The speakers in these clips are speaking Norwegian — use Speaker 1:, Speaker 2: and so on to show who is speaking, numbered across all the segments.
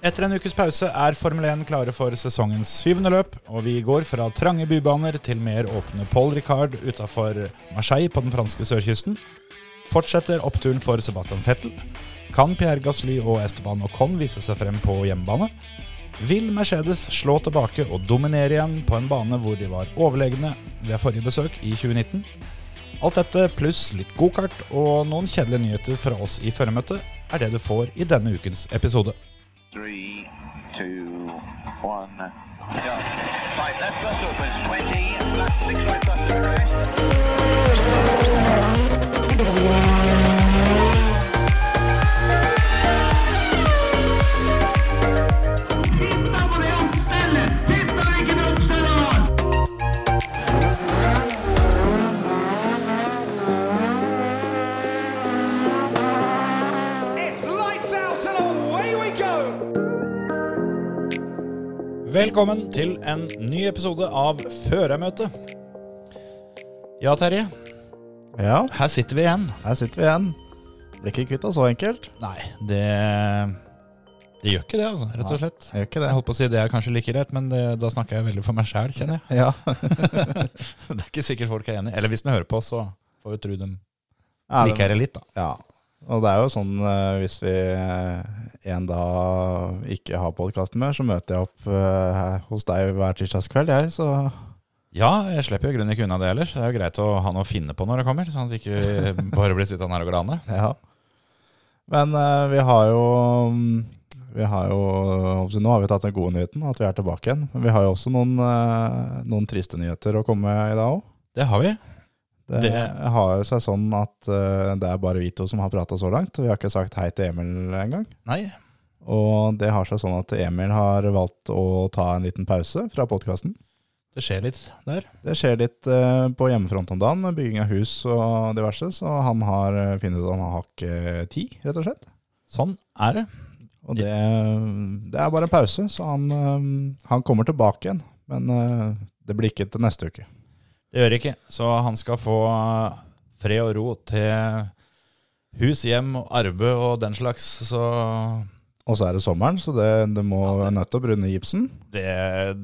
Speaker 1: Etter en ukes pause er Formel 1 klare for sesongens syvende løp, og vi går fra trange bybaner til mer åpne Paul Ricard utafor Marseille på den franske sørkysten. Fortsetter oppturen for Sebastian Fettel. Kan Pierre Gasly og Esteban Ocon vise seg frem på hjemmebane? Vil Mercedes slå tilbake og dominere igjen på en bane hvor de var overlegne ved forrige besøk i 2019? Alt dette pluss litt gokart og noen kjedelige nyheter fra oss i føremøtet er det du får i denne ukens episode.
Speaker 2: Three, two, one, go. Right, left bus opens 20, left six right bus to arrest.
Speaker 3: It's lights out and away we go!
Speaker 1: Velkommen til en ny episode av Førermøtet. Ja, Terje.
Speaker 4: Ja,
Speaker 1: Her sitter vi igjen.
Speaker 4: her sitter vi igjen. Blir ikke kvitt oss så enkelt.
Speaker 1: Nei, det Det gjør ikke det, altså, rett og slett.
Speaker 4: Gjør ikke det.
Speaker 1: Jeg holdt på å si det er kanskje like greit, men det, da snakker jeg veldig for meg sjæl, kjenner jeg.
Speaker 4: Ja.
Speaker 1: Det er ikke sikkert folk er enig. Eller hvis de hører på, så får vi tro de
Speaker 4: Ja, det-
Speaker 1: liker det litt, da.
Speaker 4: ja. Og det er jo sånn eh, hvis vi eh, en dag ikke har podkasten mer, så møter jeg opp eh, her hos deg hver tirsdagskveld, jeg, så
Speaker 1: Ja, jeg slipper jo i grunnen ikke unna det ellers. Det er jo greit å ha noe å finne på når det kommer, sånn at vi ikke vi bare blir sittende her og glane.
Speaker 4: ja. Men eh, vi har jo mm, vi har jo, holdt på å si, Nå har vi tatt den gode nyheten, at vi er tilbake igjen. Men vi har jo også noen, eh, noen triste nyheter å komme med i dag òg.
Speaker 1: Det har vi.
Speaker 4: Det,
Speaker 1: Det-
Speaker 4: har jo seg sånn at eh, det er bare vi to som har prata så langt. Vi har ikke sagt hei til Emil engang.
Speaker 1: Nei.
Speaker 4: Og det har seg sånn at Emil har valgt å ta en liten pause fra podkasten.
Speaker 1: Det skjer litt der.
Speaker 4: Det skjer litt eh, på hjemmefront om dagen med bygging av hus og diverse, så han har eh, funnet ut at han har ikke tid, rett og slett.
Speaker 1: Sånn er det.
Speaker 4: Og det, det er bare en pause, så han, eh, han kommer tilbake igjen. Men eh, det blir ikke til neste uke.
Speaker 1: Det gjør ikke. Så han skal få fred og ro til hus, hjem, og arbeid og den slags. Så
Speaker 4: Og så er det sommeren, så det, det må nødt til å brune gipsen.
Speaker 1: det,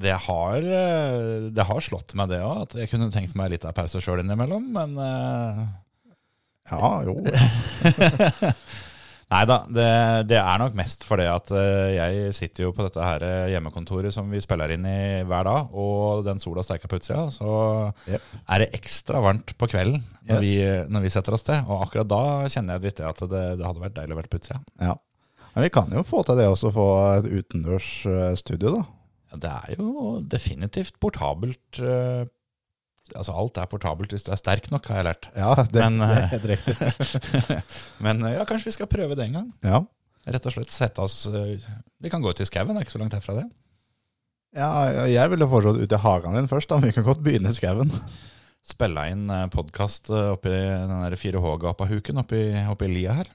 Speaker 1: det, har, eh, det har slått meg, det òg. At jeg kunne tenkt meg litt av pause sjøl innimellom, men eh,
Speaker 4: Ja, jo.
Speaker 1: Nei da, det, det er nok mest fordi at eh, jeg sitter jo på dette her eh, hjemmekontoret som vi spiller inn i hver dag, og den sola steiker på utsida, så
Speaker 4: Jep.
Speaker 1: er det ekstra varmt på kvelden når,
Speaker 4: Yes.
Speaker 1: vi, når vi setter oss til. Og akkurat da kjenner jeg litt det at det, det hadde vært deilig å være på utsida.
Speaker 4: Ja. Men vi kan jo få til det også, få et utendørs eh, studio, da.
Speaker 1: Ja, Det er jo definitivt portabelt. eh, Altså alt er portabelt hvis du er sterk nok, har jeg lært.
Speaker 4: Ja, det,
Speaker 1: Men,
Speaker 4: det er
Speaker 1: eh,
Speaker 4: helt riktig.
Speaker 1: Men eh, ja, kanskje vi skal prøve det en gang.
Speaker 4: Ja.
Speaker 1: Rett og slett sette oss eh, Vi kan gå ut i skauen, det er ikke så langt herfra det.
Speaker 4: ja, jeg ville foreslått ute i hagen din først, da. men Vi kan godt begynne i skauen.
Speaker 1: Spille inn eh, podkast oppi den der 4H-gapahuken oppi, oppi lia her.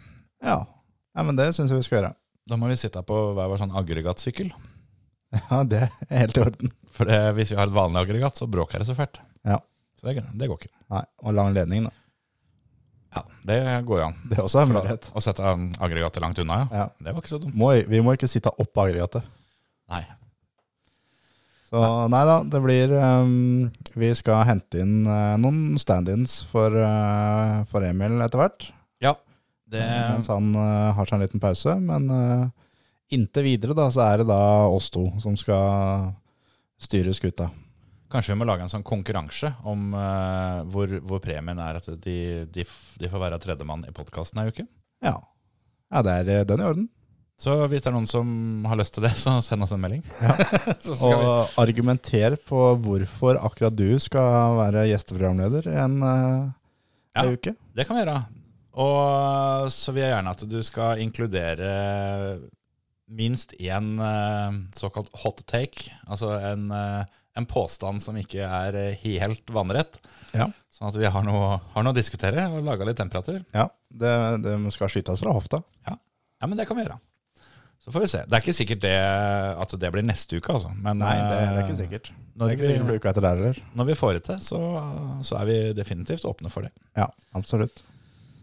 Speaker 4: Ja. ja, men det syns jeg vi skal gjøre.
Speaker 1: Da må vi sitte på hver vår sånn aggregatsykkel.
Speaker 4: Ja, det er helt i orden.
Speaker 1: For det, hvis vi har et vanlig aggregat, så bråker det så fælt.
Speaker 4: Ja.
Speaker 1: Så det, er- det går ikke.
Speaker 4: Nei, Og lang ledning, da.
Speaker 1: Ja, Det går jo an.
Speaker 4: Det er også en
Speaker 1: For da,
Speaker 4: mulighet.
Speaker 1: å sette um, aggregatet langt unna, ja.
Speaker 4: Ja.
Speaker 1: Det var ikke så dumt.
Speaker 4: Må, vi må ikke sitte opp aggregatet.
Speaker 1: Nei.
Speaker 4: Så nei da, det blir ehm, Vi skal hente inn eh, noen stand-ins for, eh, for Emil etter hvert.
Speaker 1: Ja, det
Speaker 4: Mens han eh, har seg en liten pause. Men eh, inntil videre da, så er det da oss to som skal styre skuta.
Speaker 1: Kanskje vi må lage en sånn konkurranse om eh, hvor, hvor premien er at de, de, f- de får være tredjemann i podkasten ei uke.
Speaker 4: Ja. ja, det er eh, den i orden.
Speaker 1: Så hvis det er noen som har lyst til det, så send oss en melding. så skal vi.
Speaker 4: Og argumenter på hvorfor akkurat du skal være gjesteprogramleder en eh,
Speaker 1: Ja.
Speaker 4: ei uke.
Speaker 1: Det kan vi gjøre. Og så vil jeg gjerne at du skal inkludere minst én eh, såkalt hot take. Altså en, eh, en påstand som ikke er eh, helt vannrett.
Speaker 4: Ja.
Speaker 1: Sånn at vi har noe, har noe å diskutere og lage litt temperatur.
Speaker 4: Ja, det, det skal skytes fra hofta.
Speaker 1: Ja, men det kan vi gjøre. Så får vi se. Det er ikke sikkert det, at det blir neste uke, altså. Men,
Speaker 4: Nei, det, det er ikke
Speaker 1: eh,
Speaker 4: sikkert. Det
Speaker 1: Når,
Speaker 4: er ikke sikkert det
Speaker 1: vi,
Speaker 4: blir uka etter der heller.
Speaker 1: når vi får det til, så, så er vi definitivt åpne for det.
Speaker 4: Ja, absolutt.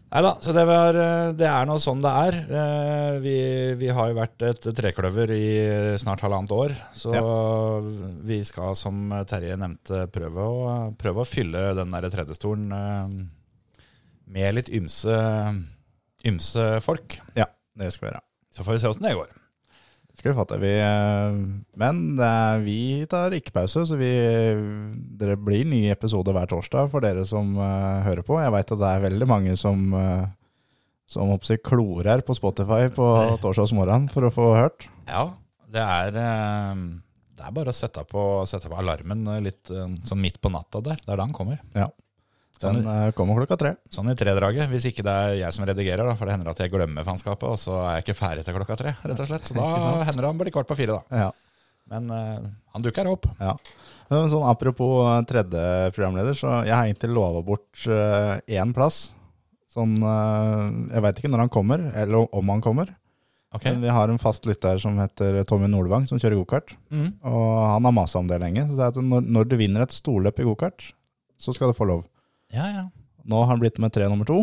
Speaker 1: Nei da, så det, var, eh, det er nå sånn det er. Eh, Vi, vi har jo vært et trekløver i snart halvannet år, så vi skal, som Terje nevnte, prøve å, prøve å fylle den der tredjestolen eh, med litt ymse, ymse folk.
Speaker 4: Ja, det skal vi gjøre.
Speaker 1: Så får vi se åssen det går.
Speaker 4: Det Skal vi fatte. Vi, eh, men eh, vi tar ikke pause, så vi, det blir nye episoder hver torsdag for dere som eh, hører på. Jeg veit at det er veldig mange som, eh, som håper jeg, klorer på Spotify på torsdagsmorgenen for å få hørt.
Speaker 1: Ja, det er, eh, det er bare å sette på, sette på alarmen litt eh, sånn midt på natta der. Det er da han kommer.
Speaker 4: Ja. Den eh, kommer klokka tre.
Speaker 1: Sånn i tredraget, hvis ikke det er jeg som redigerer, da, for det hender at jeg glemmer fanskapet, og så er jeg ikke ferdig til klokka tre, rett og slett. Så da
Speaker 4: Ikke sant?
Speaker 1: hender det han blir kvart på fire, da.
Speaker 4: Ja.
Speaker 1: Men eh, han dukker opp.
Speaker 4: Ja. Men Sånn, apropos eh, tredje programleder, så jeg har egentlig lova bort eh, én plass. Sånn, eh, Jeg veit ikke når han kommer, eller om han kommer.
Speaker 1: Ok.
Speaker 4: Men vi har en fast lytter som heter Tommy Nordvang, som kjører gokart.
Speaker 1: Mm.
Speaker 4: Og han har masa om det lenge. Så sa jeg at når, når du vinner et storløp i gokart, så skal du få lov.
Speaker 1: Ja, ja.
Speaker 4: Nå har han blitt med tre nummer to,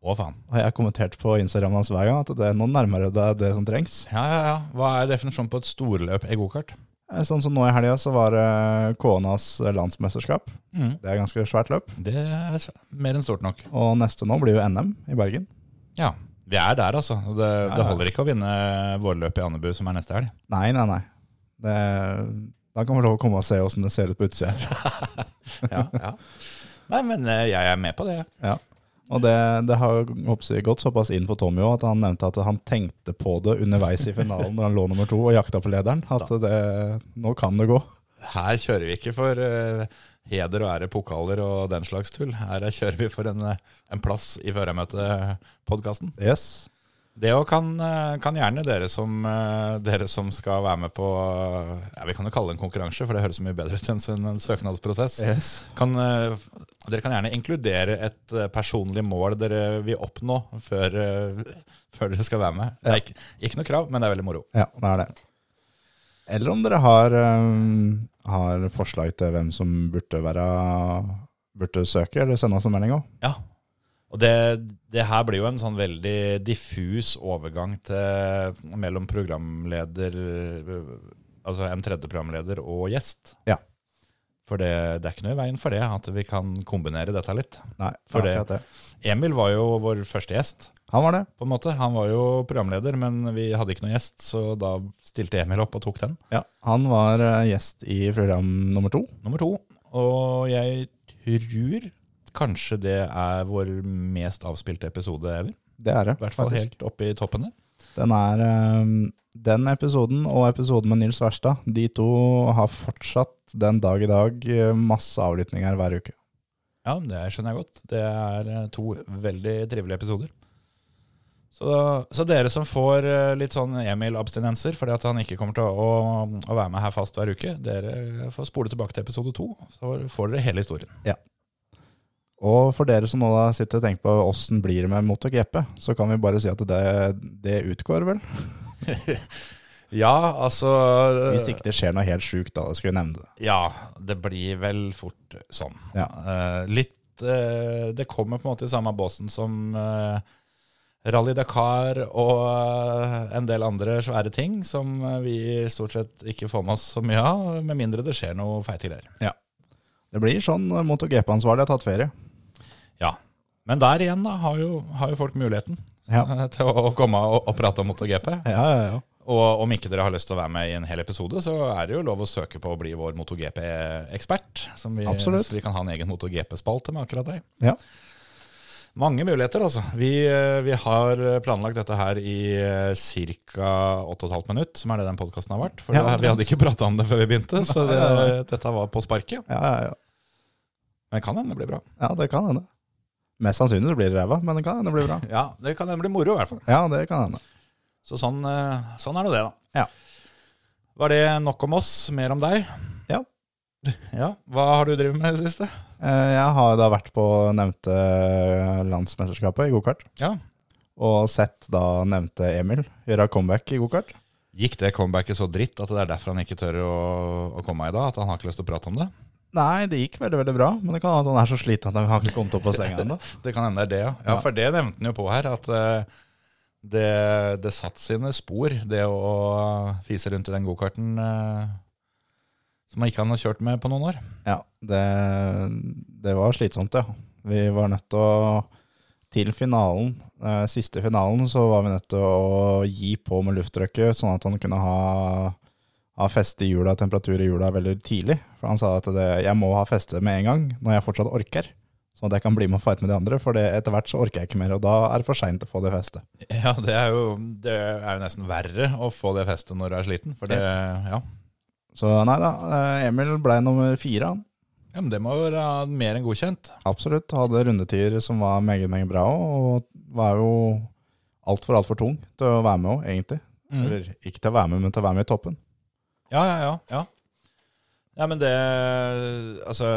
Speaker 1: Å, faen.
Speaker 4: og jeg har kommentert på Instagram hans hver gang at det, nå nærmer du deg det som trengs.
Speaker 1: Ja, ja, ja. Hva er definisjonen på et storløp i gokart?
Speaker 4: Eh, Sånn som nå i helga, så var eh, det Kånas landsmesterskap.
Speaker 1: Mm.
Speaker 4: Det er ganske svært løp.
Speaker 1: Det er s- mer enn stort nok.
Speaker 4: Og neste nå blir jo NM i Bergen.
Speaker 1: Ja. Vi er der, altså. Det, det
Speaker 4: ja.
Speaker 1: holder ikke å vinne vårløpet i Andebu, som er neste helg.
Speaker 4: Nei, nei, nei. Det, da kan vi lov å komme og se åssen det ser ut på utsida. her.
Speaker 1: Ja, ja. Nei, men eh, jeg er med på det.
Speaker 4: Ja. Og det, det har håper jeg, gått såpass inn på Tommy òg at han nevnte at han tenkte på det underveis i finalen når han lå nummer to og jakta på lederen. At det, nå kan det gå.
Speaker 1: Her kjører vi ikke for eh, heder og ære, pokaler og den slags tull. Her kjører vi for en, eh, en plass i Førermøtet-podkasten.
Speaker 4: Yes.
Speaker 1: Det òg kan, eh, kan gjerne dere som, eh, dere som skal være med på eh, ja, Vi kan jo kalle det en konkurranse, for det høres så mye bedre ut enn en, en søknadsprosess.
Speaker 4: yes.
Speaker 1: Kan, eh, f- dere kan gjerne inkludere et eh, personlig mål dere vil oppnå før, eh, før dere skal være med. Det er ikke, ikke noe krav, men det er veldig moro.
Speaker 4: Ja, det er det. Eller om dere har, um, har forslag til hvem som burde være Burde søke, eller sende oss en melding òg.
Speaker 1: Ja. Og det, det her blir jo en sånn veldig diffus overgang til, mellom programleder Altså en tredje programleder og gjest.
Speaker 4: Ja.
Speaker 1: For det, det er ikke noe i veien for det, at vi kan kombinere dette litt.
Speaker 4: Nei,
Speaker 1: For det-
Speaker 4: akkurat
Speaker 1: Emil var jo vår første gjest,
Speaker 4: Han var det.
Speaker 1: på en måte. Han var jo programleder, men vi hadde ikke noen gjest, så da stilte Emil opp og tok den.
Speaker 4: Ja, han var eh, gjest i program nummer to.
Speaker 1: Nummer to. Og jeg tror kanskje det er vår mest avspilte episode ever.
Speaker 4: Det er det.
Speaker 1: I hvert fall
Speaker 4: faktisk.
Speaker 1: helt oppe i toppen der.
Speaker 4: Den er eh, Den episoden og episoden med Nils Verstad, de to har fortsatt den dag i dag eh, masse avlytninger hver uke.
Speaker 1: Ja, men det skjønner jeg godt. Det er eh, to veldig trivelige episoder. Så, så dere som får eh, litt sånn Emil-abstinenser fordi at han ikke kommer til å, å være med her fast hver uke, dere får spole tilbake til episode to, så får dere hele historien.
Speaker 4: Og for dere som nå da sitter og tenker på åssen blir det med MotoGP, så kan vi bare si at det, det utgår, vel?
Speaker 1: Ja, altså
Speaker 4: Hvis ikke det skjer noe helt sjukt, da, skal vi nevne det.
Speaker 1: Ja, det blir vel fort sånn.
Speaker 4: Ja.
Speaker 1: Eh, litt eh, Det kommer på en måte i samme båsen som eh, Rally Dakar og eh, en del andre svære ting som eh, vi stort sett ikke får med oss så mye av, med mindre det skjer noe feite greier.
Speaker 4: Det blir sånn eh, MotoGP-ansvarlig har tatt ferie.
Speaker 1: Ja. Men der igjen da, har jo, har jo folk muligheten
Speaker 4: Ja.
Speaker 1: eh, til å komme og, og prate om MotoGP.
Speaker 4: Ja, ja, ja.
Speaker 1: Og om ikke dere har lyst til å være med i en hel episode, så er det jo lov å søke på å bli vår MotoGP-ekspert. Som vi,
Speaker 4: Absolutt.
Speaker 1: Så vi kan ha en egen MotoGP-spalte med akkurat deg.
Speaker 4: Ja.
Speaker 1: Mange muligheter, altså. Vi, eh, vi har planlagt dette her i eh, ca. 8,5 minutt, som er det den podkasten har vært. For
Speaker 4: Ja,
Speaker 1: det, vi hadde ikke prata om det før vi begynte, så det,
Speaker 4: Nei, nei,
Speaker 1: dette var på sparket.
Speaker 4: Ja, ja, ja.
Speaker 1: Men kan hende det blir bra.
Speaker 4: ja det kan hende. Mest sannsynlig så blir det ræva, men det kan hende det blir bra.
Speaker 1: Ja, det kan hende det blir moro, i hvert fall.
Speaker 4: Ja, det kan hende.
Speaker 1: Så sånn, eh, sånn er nå det, da.
Speaker 4: Ja.
Speaker 1: Var det nok om oss, mer om deg?
Speaker 4: Ja.
Speaker 1: Ja, Hva har du drevet med i det siste?
Speaker 4: Eh, Jeg har da vært på nevnte eh, landsmesterskapet i gokart.
Speaker 1: Ja.
Speaker 4: Og sett da nevnte Emil gjøre comeback i gokart.
Speaker 1: Gikk det comebacket så dritt at det er derfor han ikke tør å, å komme i dag? At han har ikke lyst til å prate om det?
Speaker 4: Nei, det gikk veldig veldig bra, men det kan hende at han er så sliten at han har ikke kommet opp av senga ennå.
Speaker 1: Det kan hende det er det, ja. ja. For det nevnte han jo på her, at eh, det, det satt sine spor, det å fise rundt i den gokarten eh, som han ikke han har kjørt med på noen år.
Speaker 4: Ja, det, det var slitsomt, ja. Vi var nødt til å Til finalen, eh, siste finalen, så var vi nødt til å gi på med lufttrykket, sånn at han kunne ha, ha feste i hjula, temperatur i hjula, veldig tidlig. For han sa at det, jeg må ha feste med en gang, når jeg fortsatt orker. Sånn at jeg kan bli med og fighte med de andre, for det, etter hvert så orker jeg ikke mer. Og da er det for seint å få det festet.
Speaker 1: Ja, det er, jo, det er jo nesten verre å få det festet når du er sliten, for det Ja.
Speaker 4: Så nei da, eh, Emil ble nummer fire, han.
Speaker 1: Ja, men det må være mer enn godkjent.
Speaker 4: Absolutt. Hadde rundetider som var meget, meget bra, og var jo altfor, altfor tung til å være med òg, egentlig.
Speaker 1: Mm.
Speaker 4: Eller ikke til å være med, men til å være med i toppen.
Speaker 1: Ja, ja, ja. ja. Ja, men det Altså,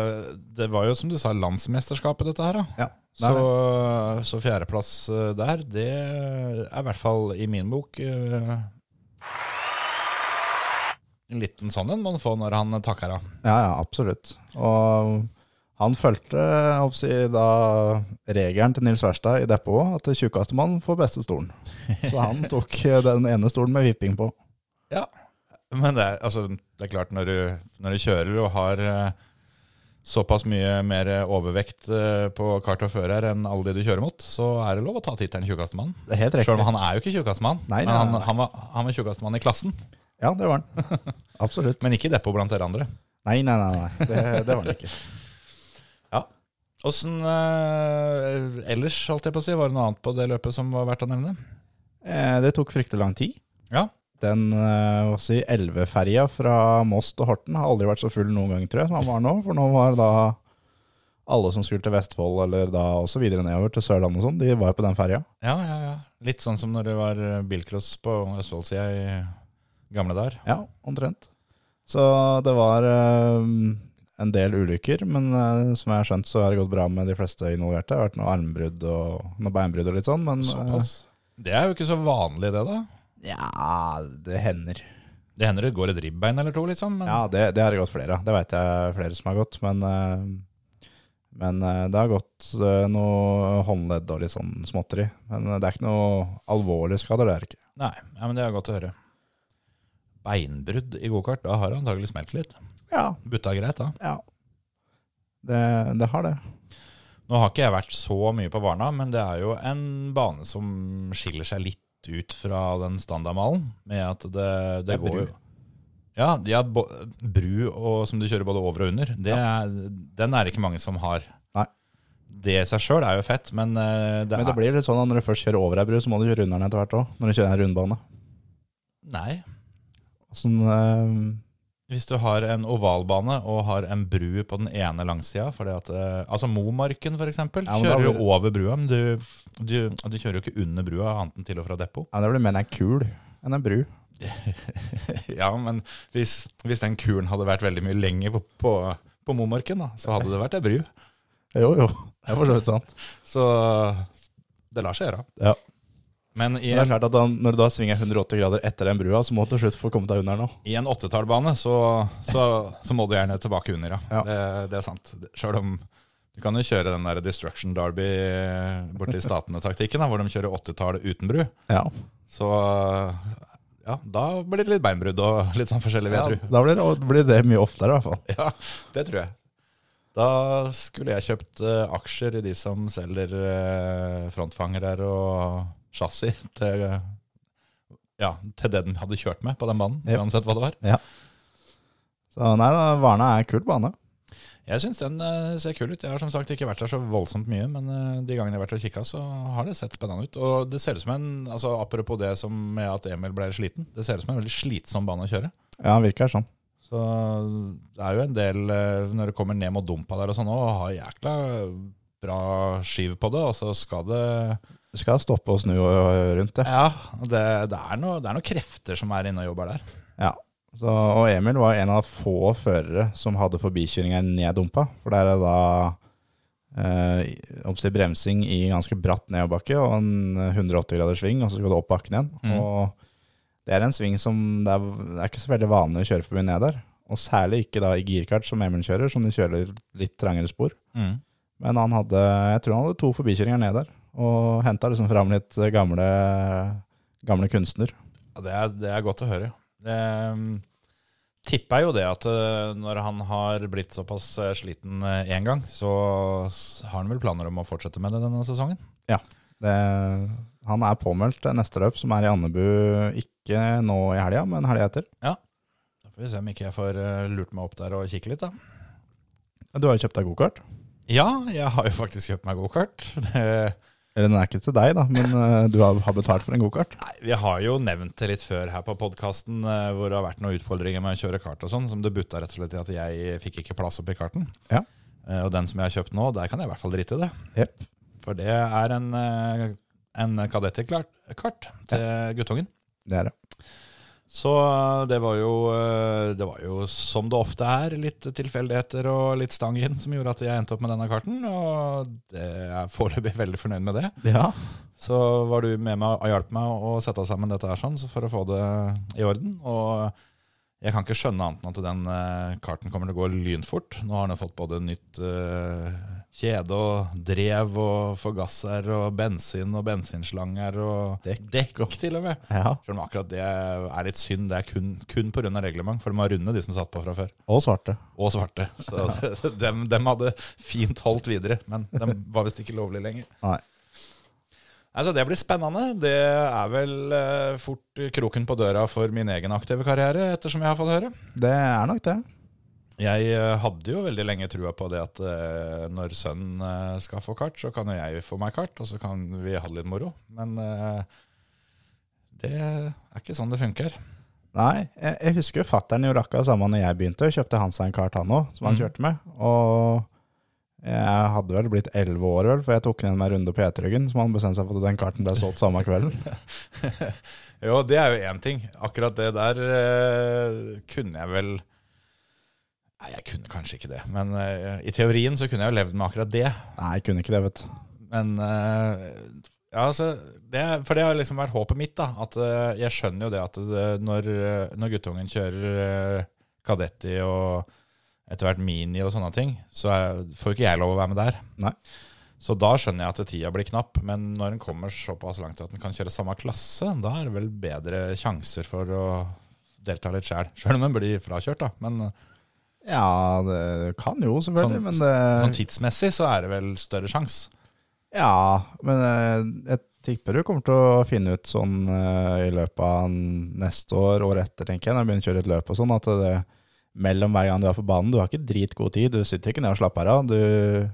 Speaker 1: det var jo som du sa, landsmesterskapet dette her, da.
Speaker 4: Ja, det er
Speaker 1: Så, så fjerdeplass eh, der, det er i hvert fall i min bok eh, En liten sånn en må han få når han takker av.
Speaker 4: Ja, ja, absolutt. Og han fulgte jeg håper å si, da regelen til Nils Wærstad i depotet, at tjukkeste mann får beste stolen. Så han tok eh, den ene stolen med vipping på.
Speaker 1: Ja. Men det er, altså, det er klart, når du, når du kjører og har eh, såpass mye mer overvekt eh, på kart og fører enn alle de du kjører mot, så er det lov å ta tittelen tjukkeste mann.
Speaker 4: Det er helt
Speaker 1: Selv
Speaker 4: riktig.
Speaker 1: om han er jo ikke tjukkeste mann,
Speaker 4: Nei,
Speaker 1: men
Speaker 4: nei,
Speaker 1: han,
Speaker 4: nei.
Speaker 1: han var, han var tjukkeste mann i klassen.
Speaker 4: Ja, det var han. Absolutt.
Speaker 1: Men ikke i depot blant dere andre.
Speaker 4: Nei, nei, nei, nei. Det, det var han ikke.
Speaker 1: Åssen eh, ellers, holdt jeg på å si, var det noe annet på det løpet som var verdt å nevne?
Speaker 4: Eh, Det tok fryktelig lang tid.
Speaker 1: Ja.
Speaker 4: Den eh, hva si, elveferja fra Moss til Horten har aldri vært så full noen gang, tror jeg, som han var nå. For nå var da alle som skulle til Vestfold, eller da også videre nedover til Sørlandet og sånn, de var jo på den ferja.
Speaker 1: Ja, ja, ja. Litt sånn som når det var eh, bilcross på Østfoldsida i gamle dager.
Speaker 4: Ja, omtrent. Så det var eh, en del ulykker, men eh, som jeg har skjønt, så har det gått bra med de fleste involverte. Det har vært noe armbrudd og noe beinbrudd og litt sånn, men eh,
Speaker 1: Såpass. Det er jo ikke så vanlig, det, da.
Speaker 4: Ja, det hender.
Speaker 1: Det hender det går et ribbein eller to, liksom. Men,
Speaker 4: Ja, det, det har det gått flere av. Det veit jeg flere som har gått, men eh, men eh, det har gått eh, noe håndledd og litt sånn småtteri. Men eh, det er ikke noe alvorlige skader, det er det ikke.
Speaker 1: Nei, ja, men det er godt å høre. Beinbrudd i gokart, da har det antagelig smelt litt.
Speaker 4: Ja,
Speaker 1: Butta greit, da.
Speaker 4: ja. Det, det har det.
Speaker 1: Nå har ikke jeg vært så mye på Varna, men det er jo en bane som skiller seg litt ut fra den standardmalen. Med at det, det,
Speaker 4: Det er
Speaker 1: går
Speaker 4: bru.
Speaker 1: jo Ja, de har bo- bru og, som du kjører både over og under. Det er, den er det ikke mange som har.
Speaker 4: Nei.
Speaker 1: Det i seg sjøl er jo fett, men eh, det,
Speaker 4: Men det
Speaker 1: er
Speaker 4: blir litt sånn at når du først kjører over ei bru, så må du kjøre under den etter hvert òg. Når du kjører en rundbane.
Speaker 1: Nei.
Speaker 4: Sånn, eh,
Speaker 1: Hvis du har en ovalbane og har en bru på den ene langsida fordi at, eh, Altså Momarken, for eksempel,
Speaker 4: Ja, men da
Speaker 1: kjører jo
Speaker 4: blir det-
Speaker 1: over brua, men du, du, du kjører jo ikke under brua annet enn til og fra depot.
Speaker 4: ja, det blir mer en kul enn en bru.
Speaker 1: Ja, men hvis, hvis den kuren hadde vært veldig mye lenger på, på, på Momarken, da, så hadde det vært ei bru.
Speaker 4: Jo, jo. Det er for så vidt sant.
Speaker 1: Så det lar seg gjøre.
Speaker 4: Ja.
Speaker 1: Men i
Speaker 4: Men det er
Speaker 1: en,
Speaker 4: klart at da, når du da svinger 180 grader etter den brua, så må du til slutt få kommet deg under nå.
Speaker 1: i en åttetallbane så, så, så må du gjerne tilbake under, ja.
Speaker 4: Ja.
Speaker 1: Det, det er sant. Sjøl om du kan jo kjøre den der Destruction Derby borti Statene-taktikken, da, hvor de kjører åttetall uten bru.
Speaker 4: Ja.
Speaker 1: Så ja, da blir det litt beinbrudd og litt sånn forskjellig, vil jeg tro.
Speaker 4: da blir det, blir det mye oftere, i hvert fall.
Speaker 1: Ja, det tror jeg. Da skulle jeg kjøpt eh, aksjer i de som selger eh, frontfanger der og chassis til, eh, ja, til det den hadde kjørt med på den banen,
Speaker 4: Jep.
Speaker 1: uansett hva det var.
Speaker 4: Så nei da, Varna er en kul bane.
Speaker 1: Jeg syns den eh, ser kul ut. Jeg har som sagt ikke vært der så voldsomt mye, men eh, de gangene jeg har vært og kikka, så har det sett spennende ut. Og det ser ut som en, altså apropos det som med at Emil ble sliten, det ser ut som en veldig slitsom bane å kjøre.
Speaker 4: Ja, han virker sånn.
Speaker 1: Så det er jo en del eh, når det kommer ned mot dumpa der og sånn òg, har jækla bra skyv på det, og så skal det
Speaker 4: Du skal stoppe og snu og- og rundt det.
Speaker 1: Ja, det, det, er, noe, det er noen krefter som er inne og jobber der.
Speaker 4: Ja. Så, og Emil var en av få førere som hadde forbikjøringer ned dumpa. For der er da eh, oppstilt bremsing i ganske bratt nedoverbakke og en 180 grader sving, og så skal du opp bakken igjen.
Speaker 1: Mm.
Speaker 4: Og det er en sving som det er, det er ikke så veldig vanlig å kjøre forbi ned der. Og særlig ikke da i girkart, som Emil kjører, som de kjører litt trangere spor.
Speaker 1: Mm.
Speaker 4: Men han hadde, jeg tror han hadde to forbikjøringer ned der, og henta liksom fram litt gamle, gamle kunstner.
Speaker 1: Ja, det, er, det er godt å høre. Det um, tipper jeg jo det at eh, når han har blitt såpass eh, sliten én gang, så s- har han vel planer om å fortsette med det denne sesongen.
Speaker 4: Det, han er påmeldt neste løp, som er i Andebu, ikke nå i helga, men helga etter.
Speaker 1: Da får vi se om ikke jeg får eh, lurt meg opp der og kikke litt, da.
Speaker 4: Du har jo kjøpt deg gokart.
Speaker 1: Ja, jeg har jo faktisk kjøpt meg gokart. Det-
Speaker 4: Eller den er ikke til deg, da, men eh, du har har betalt for en gokart.
Speaker 1: Nei, Vi har jo nevnt det litt før her på podkasten, hvor det har vært noen utfordringer med å kjøre kart og sånn, som det butta rett og slett i at jeg fikk ikke plass oppi karten.
Speaker 4: Ja.
Speaker 1: Eh, Og den som jeg har kjøpt nå, der kan jeg i hvert fall drite i det.
Speaker 4: Jepp.
Speaker 1: For det er en, eh, en kadettkart til guttungen.
Speaker 4: Det er det.
Speaker 1: Så eh, det var, jo, eh, det var jo som det ofte er, litt tilfeldigheter og litt stang inn som gjorde at jeg endte opp med denne karten. Og det jeg er foreløpig veldig fornøyd med det.
Speaker 4: Ja.
Speaker 1: Så var du med meg og hjalp meg å sette sammen dette her sånn, så for å få det i orden. Og jeg kan ikke skjønne annet enn at den eh, karten kommer til å gå lynfort. Nå har den jo fått både nytt eh, kjede og drev og forgasser og bensin og bensinslanger og
Speaker 4: Dekk.
Speaker 1: til og med.
Speaker 4: ja.
Speaker 1: Selv om akkurat det er litt synd, det er kun, kun pga. reglement, for de var runde, de som satt på fra før.
Speaker 4: Og svarte.
Speaker 1: Og svarte. Så dem, dem hadde fint holdt videre, men dem var visst ikke lovlig lenger.
Speaker 4: Nei.
Speaker 1: Altså, det blir spennende. Det er vel eh, fort kroken på døra for min egen aktive karriere, ettersom jeg har fått høre.
Speaker 4: Det er nok det.
Speaker 1: Jeg eh, hadde jo veldig lenge trua på det at eh, når sønnen eh, skal få kart, så kan jo jeg få meg kart, og så kan vi ha det litt moro. Men eh, det er ikke sånn det funker.
Speaker 4: Nei, jeg, jeg husker jo fatteren gjorde akkurat samme når jeg begynte. Kjøpte han seg en kart han òg, som han
Speaker 1: Mhm.
Speaker 4: kjørte med. Og jeg hadde vel blitt elleve år, vel, for jeg tok ned meg en runde på Eteryggen. Som han bestemte seg for at den karten ble solgt samme kvelden.
Speaker 1: Jo, det er jo én ting. Akkurat det der eh, kunne jeg vel Nei, jeg kunne kanskje ikke det. Men eh, i teorien så kunne jeg jo levd med akkurat det.
Speaker 4: Nei, jeg kunne ikke det, vet du.
Speaker 1: Men eh, ja, altså, det, For det har liksom vært håpet mitt. da, at eh, Jeg skjønner jo det at eh, når, eh, når guttungen kjører eh, Kadetti og etter hvert Mini og sånne ting, så er, får jo ikke jeg lov å være med der.
Speaker 4: Nei.
Speaker 1: Så da skjønner jeg at tida blir knapp, men når en kommer såpass langt at en kan kjøre samme klasse, da er det vel bedre sjanser for å delta litt sjæl. Sjøl om en blir frakjørt, da. Men eh,
Speaker 4: Ja, det kan jo, selvfølgelig,
Speaker 1: Sånn-
Speaker 4: men det
Speaker 1: sånn tidsmessig så er det vel større sjanse.
Speaker 4: Ja, men eh, jeg tipper du kommer til å finne ut sånn eh, i løpet av neste år, året etter, tenker jeg, når du begynner å kjøre et løp og sånn, at det mellom hver gang du er på banen, du har ikke dritgod tid, du sitter ikke ned og slapper av, du,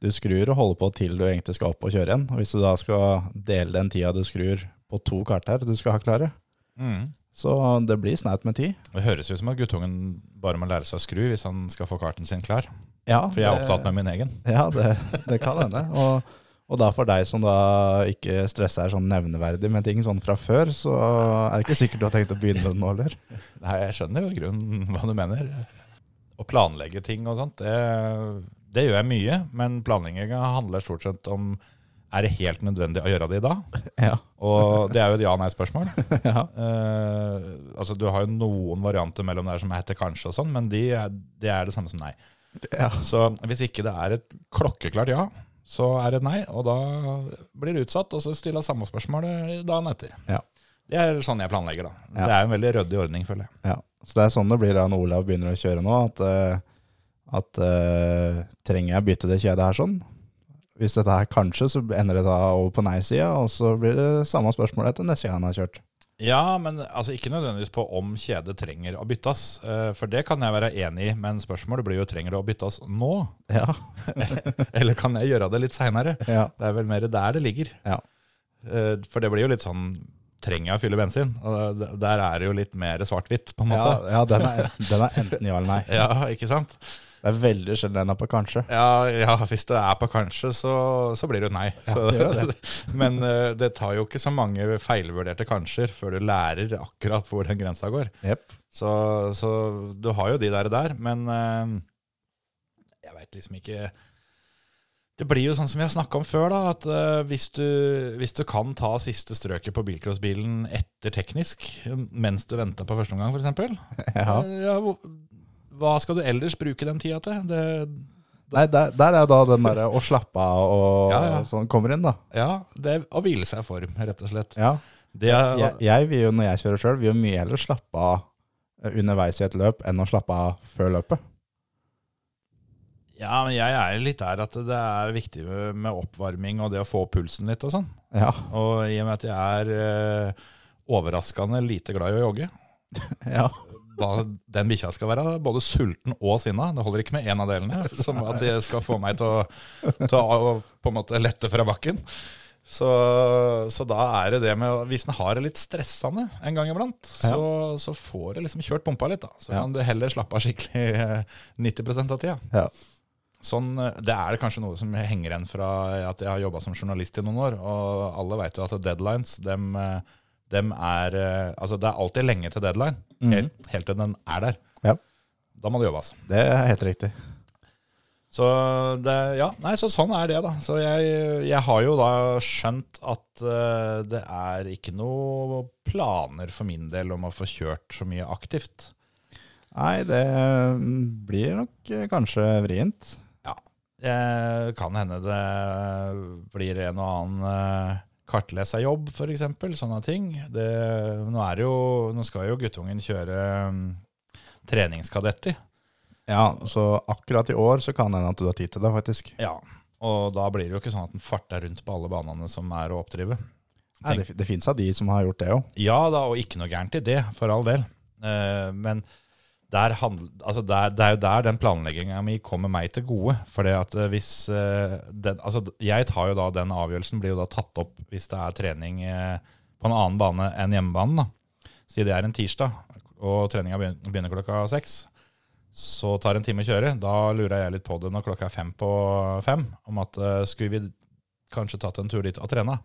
Speaker 4: du skrur og holder på til du egentlig skal opp og kjøre igjen. Og hvis du da skal dele den tida du skrur på to kart her du skal ha klare,
Speaker 1: Mm.
Speaker 4: så det blir snaut med tid.
Speaker 1: Det høres ut som at guttungen bare må lære seg å skru hvis han skal få karten sin klar.
Speaker 4: Ja,
Speaker 1: For jeg er
Speaker 4: det-
Speaker 1: opptatt med min egen.
Speaker 4: Ja, det, det kan hende. Og, og da for deg som da ikke stresser sånn nevneverdig med ting sånn fra før, så er det ikke sikkert du har tenkt å begynne med det nå heller.
Speaker 1: Nei, jeg skjønner jo i grunnen hva du mener. Å planlegge ting og sånt, det, det gjør jeg mye. Men planlegginga handler stort sett om er det helt nødvendig å gjøre det i dag?
Speaker 4: Ja.
Speaker 1: Og det er jo et ja-nei-spørsmål.
Speaker 4: ja.
Speaker 1: Eh, altså, Du har jo noen varianter mellom der som heter kanskje og sånn, men de er, det er det samme som nei.
Speaker 4: Ja.
Speaker 1: Så hvis ikke det er et klokkeklart ja, så er det et nei, og da blir det utsatt, og så stiller jeg samme spørsmål eh, dagen etter.
Speaker 4: Ja.
Speaker 1: Det er sånn jeg planlegger, da.
Speaker 4: Ja.
Speaker 1: Det er jo en veldig ryddig ordning, føler jeg.
Speaker 4: Ja. Så det er sånn det blir da når Olav begynner å kjøre nå, at, eh, at eh, trenger jeg bytte det kjedet her sånn? Hvis dette her kanskje, så ender det da over på nei-sida, og så blir det samme spørsmål etter neste gang han har kjørt.
Speaker 1: Ja, men altså ikke nødvendigvis på om kjedet trenger å byttes, eh, for det kan jeg være enig i, men spørsmålet blir jo trenger det å byttes nå,
Speaker 4: Ja.
Speaker 1: eller kan jeg gjøre det litt seinere?
Speaker 4: Ja.
Speaker 1: Det er vel mer der det ligger.
Speaker 4: Ja.
Speaker 1: Eh, For det blir jo litt sånn Trenger jeg å fylle bensin? Og d- Der er det jo litt mer svart-hvitt, på en
Speaker 4: Ja,
Speaker 1: måte.
Speaker 4: ja den, er, den er enten ja eller nei.
Speaker 1: Ja, ikke sant?
Speaker 4: Det er veldig sjelden den er på kanskje.
Speaker 1: Ja, ja, hvis det er på kanskje, så, så blir det jo nei. Så,
Speaker 4: det gjør
Speaker 1: men eh, det tar jo ikke så mange feilvurderte kanskjer før du lærer akkurat hvor den grensa går.
Speaker 4: Jepp.
Speaker 1: Så, så du har jo de der, der men eh, jeg veit liksom ikke Det blir jo sånn som vi har snakka om før, da, at eh, hvis, du, hvis du kan ta siste strøket på bilcrossbilen etter teknisk mens du venter på første omgang, f.eks.
Speaker 4: Ja.
Speaker 1: Eh, Ja, hvor- hva skal du ellers bruke den tida til? Det,
Speaker 4: Nei, der, der er jo da den derre å slappe av og
Speaker 1: Ja, ja.
Speaker 4: sånn kommer inn, da.
Speaker 1: ja, det er å hvile seg i form, rett og slett.
Speaker 4: Ja.
Speaker 1: Det er,
Speaker 4: Jeg, jeg vil jo, når jeg kjører sjøl, vil jo mye heller slappe av eh, underveis i et løp enn å slappe av før løpet.
Speaker 1: ja, men jeg er litt der at det er viktig med med oppvarming og det å få opp pulsen litt og sånn.
Speaker 4: Ja,
Speaker 1: Og i og med at jeg er eh, overraskende lite glad i å jogge,
Speaker 4: ja.
Speaker 1: da den bikkja skal være både sulten og sinna. Det holder ikke med én av delene, som at det skal få meg til å, til å på en måte lette fra bakken. Så, så da er det det med å- Hvis den har det litt stressende en gang iblant, så, så får det liksom kjørt pumpa litt. da Så
Speaker 4: Ja.
Speaker 1: kan du heller slappe av skikkelig eh, 90 av tida.
Speaker 4: ja.
Speaker 1: Sånn, eh, det er det kanskje noe som henger igjen fra at jeg har jobba som journalist i noen år. Og alle vet jo at deadlines, dem, eh, dem er eh, Altså, det er alltid lenge til deadline. Helt, helt til den er der.
Speaker 4: Ja.
Speaker 1: Da må det jobbes.
Speaker 4: Det er helt riktig.
Speaker 1: Så det, ja, nei, så sånn er det, da. Så jeg, jeg har jo da skjønt at eh, det er ikke noe planer for min del om å få kjørt så mye aktivt.
Speaker 4: Nei, det mm, blir nok eh, kanskje vrient.
Speaker 1: Eh, kan hende det eh, blir en og annen eh, kartleserjobb, f.eks. Sånne ting. Det, nå, er det jo, nå skal jo guttungen kjøre mm, treningskadetti.
Speaker 4: Ja, så akkurat i år så kan det hende at du har tid til det, faktisk.
Speaker 1: Ja. Og da blir det jo ikke sånn at den farter rundt på alle banene som er å oppdrive.
Speaker 4: Nei, det, det fins av de som har gjort det òg.
Speaker 1: Ja da, og ikke noe gærent i det, for all del. Eh, men der handl- altså der, det er jo der den planlegginga mi kommer meg til gode. For at eh, hvis eh, den, altså d- Jeg tar jo da den avgjørelsen, blir jo da tatt opp hvis det er trening eh, på en annen bane enn hjemmebanen. da. Si det er en tirsdag, og treninga begyn- begynner klokka seks. Så tar en time å kjøre. Da lurer jeg litt på det når klokka er fem på fem, om at eh, skulle vi kanskje tatt en tur dit og trena?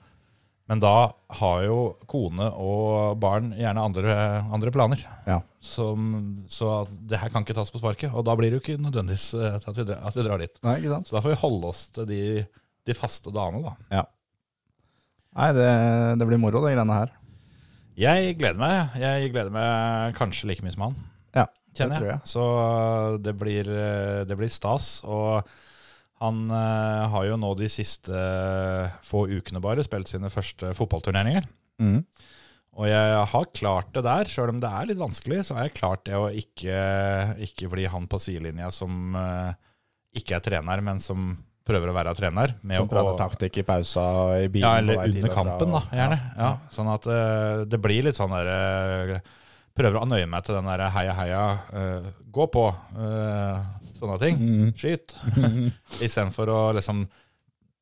Speaker 1: Men da har jo kone og barn gjerne andre, andre planer.
Speaker 4: Ja.
Speaker 1: Som, så at det her kan ikke tas på sparket. Og da blir det jo ikke nødvendigvis eh, at vi, dra- at vi drar dit.
Speaker 4: Nei, ikke sant?
Speaker 1: Så da får vi holde oss til de, de faste dagene, da.
Speaker 4: Nei, det, det blir moro, de greiene her.
Speaker 1: Jeg gleder meg. Jeg gleder meg kanskje like mye som han.
Speaker 4: Ja,
Speaker 1: kjenner
Speaker 4: det
Speaker 1: jeg.
Speaker 4: tror jeg.
Speaker 1: Så eh, det blir, eh, det blir stas. Og han eh, har jo nå de siste eh, få ukene bare spilt sine første fotballturneringer.
Speaker 4: Mm.
Speaker 1: Og jeg har klart det der, sjøl om det er litt vanskelig, så har jeg klart det å ikke, ikke bli han på sidelinja som eh, ikke er trener, men som prøver å være trener. med
Speaker 4: Som
Speaker 1: å-
Speaker 4: prater taktikk i pausa og i bilen.
Speaker 1: ja,
Speaker 4: på
Speaker 1: eller
Speaker 4: vei til
Speaker 1: under
Speaker 4: og fra,
Speaker 1: kampen, da,
Speaker 4: og-
Speaker 1: gjerne. Ja. sånn at eh, det blir litt sånn der eh, Prøver å nøye meg til den der heia, heia, eh, gå på, eh, sånne ting.
Speaker 4: Mm.
Speaker 1: Skyt. Istedenfor å liksom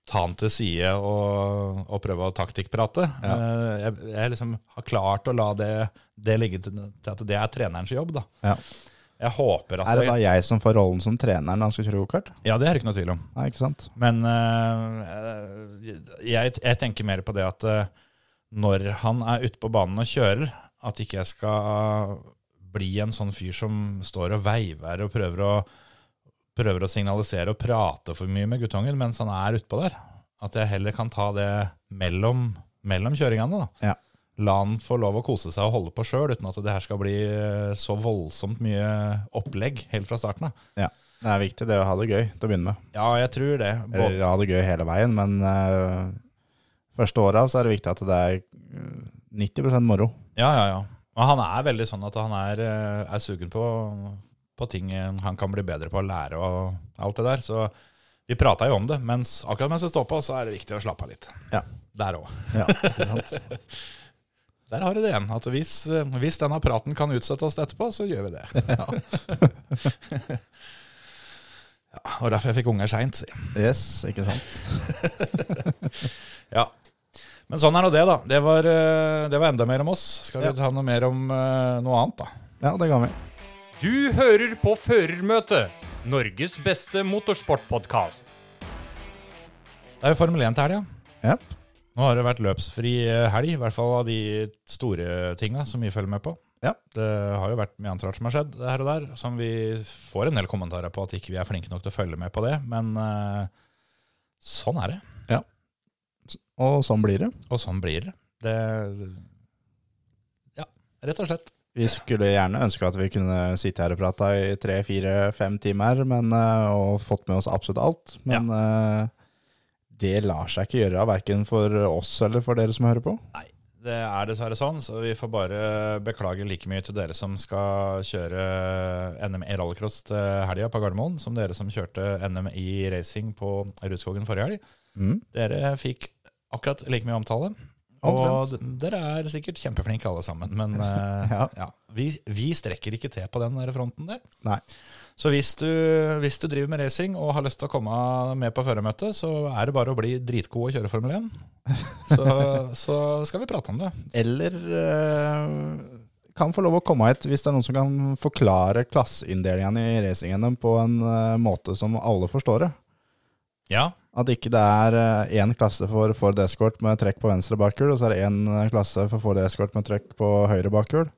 Speaker 1: ta han til side og, og prøve å taktikkprate. Eh, jeg, jeg liksom har klart å la det, det ligge til, til at det er trenerens jobb, da.
Speaker 4: Ja.
Speaker 1: Jeg håper at
Speaker 4: Er det da jeg som får rollen som altså, trener når han skal kjøre gokart?
Speaker 1: Ja, det er det ikke noe tvil om.
Speaker 4: Nei, ikke sant?
Speaker 1: Men eh, jeg, jeg tenker mer på det at eh, når han er ute på banen og kjører, at ikke jeg skal bli en sånn fyr som står og veiver og prøver å, prøver å signalisere og prate for mye med guttungen mens han er utpå der. At jeg heller kan ta det mellom, mellom kjøringene. da.
Speaker 4: Ja.
Speaker 1: La han få lov å kose seg og holde på sjøl, uten at det her skal bli eh, så voldsomt mye opplegg helt fra starten av.
Speaker 4: Ja. Det er viktig det å ha det gøy til å begynne med.
Speaker 1: Ja, jeg tror det. Både-
Speaker 4: Eller ha det gøy hele veien, men eh, første åra så er det viktig at det er eh, 90 moro.
Speaker 1: Ja, ja, ja. Men han er veldig sånn at han er, eh, er sugen på, på ting han kan bli bedre på å lære og alt det der. Så vi prata jo om det, mens akkurat mens det står på, så er det viktig å slappe av litt.
Speaker 4: Ja.
Speaker 1: Der òg.
Speaker 4: Ja, ikke sant?
Speaker 1: Der har du det igjen. At hvis, eh, hvis denne praten kan utsettes etterpå, så gjør vi det. Ja. og derfor jeg fikk unger seint, si.
Speaker 4: Yes, ikke sant?
Speaker 1: Ja. Men sånn er nå det, da. Det var, eh, det var enda mer om oss. Skal vi
Speaker 4: Ja.
Speaker 1: ta noe mer om eh, noe annet, da?
Speaker 4: Ja, det kan vi.
Speaker 5: Du hører på Førermøtet, Norges beste motorsportpodkast.
Speaker 1: Det er jo Formel 1 til helga.
Speaker 4: Jep.
Speaker 1: Nå har det vært løpsfri eh, helg, i hvert fall av de store tinga som vi følger med på.
Speaker 4: Ja.
Speaker 1: Det har jo vært mye annet rart som har skjedd her og der, som vi får en del kommentarer på at ikke vi er flinke nok til å følge med på det, men eh, sånn er det.
Speaker 4: Og sånn blir det.
Speaker 1: Og sånn blir det. det ja, rett og slett.
Speaker 4: Vi skulle gjerne ønske at vi kunne sitte her og prate i tre, fire, fem timer men, eh, og fått med oss absolutt alt. Men eh, det lar seg ikke gjøre, verken for oss eller for dere som hører på.
Speaker 1: Nei, det er dessverre sånn, så vi får bare beklage like mye til dere som skal kjøre NM i rallycross til helga på Gardermoen, som dere som kjørte NM i racing på Rudskogen forrige helg.
Speaker 4: Mm.
Speaker 1: Dere fikk akkurat like mye omtale. Og
Speaker 4: Omtrent.
Speaker 1: d- dere er sikkert kjempeflinke alle sammen, men eh, ja.
Speaker 4: Ja.
Speaker 1: vi, vi strekker ikke til på den der fronten der.
Speaker 4: Nei.
Speaker 1: Så hvis du, hvis du driver med racing og har lyst til å komme med på førermøtet, så er det bare å bli dritgod og kjøre Formel 1. Så, så skal vi prate om det.
Speaker 4: Eller eh, kan få lov å komme hit hvis det er noen som kan forklare klasseinndelingene i racingen på en eh, måte som alle forstår det.
Speaker 1: Ja,
Speaker 4: At ikke det er eh, én klasse for Ford Escort med trekk på venstre bakhjul, og så er det én eh, klasse for Ford Escort med trekk på høyre bakhjul.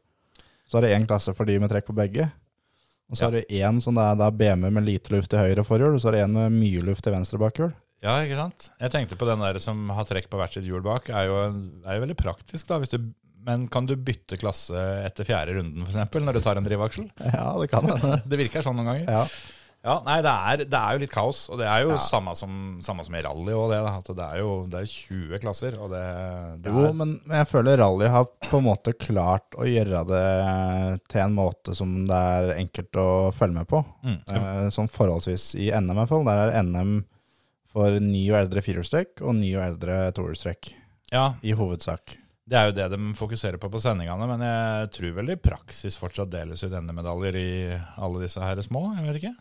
Speaker 4: Så er det én klasse for de med trekk på begge. Og så
Speaker 1: Ja.
Speaker 4: er det én som det er da BMW med lite luft i høyre forhjul, og så er det én med mye luft i venstre bakhjul.
Speaker 1: Ja, ikke sant? Jeg tenkte på den der som har trekk på hvert sitt hjul bak, er jo, er jo veldig praktisk da, hvis du, men kan du bytte klasse etter fjerde runden for eksempel, når du tar en drivaksel?
Speaker 4: Ja, det kan hende.
Speaker 1: Det virker sånn noen ganger.
Speaker 4: Ja.
Speaker 1: Ja, nei, det er, det er jo litt kaos, og det er jo samme, som, samme som i rally og det, da, at det er jo det er 20 klasser, og det, det
Speaker 4: Jo,
Speaker 1: er...
Speaker 4: men jeg føler rally har på en måte klart å gjøre det eh, til en måte som det er enkelt å følge med på.
Speaker 1: mm,
Speaker 4: Eh, Sånn forholdsvis i NM i hvert fall. Der er NM for ny og eldre firehjulstrekk og ny og eldre tohjulstrekk,
Speaker 1: Ja,
Speaker 4: i hovedsak.
Speaker 1: det er jo det de fokuserer på på sendingene, men jeg tror vel i praksis fortsatt deles ut NM-medaljer i alle disse her små, jeg vet ikke.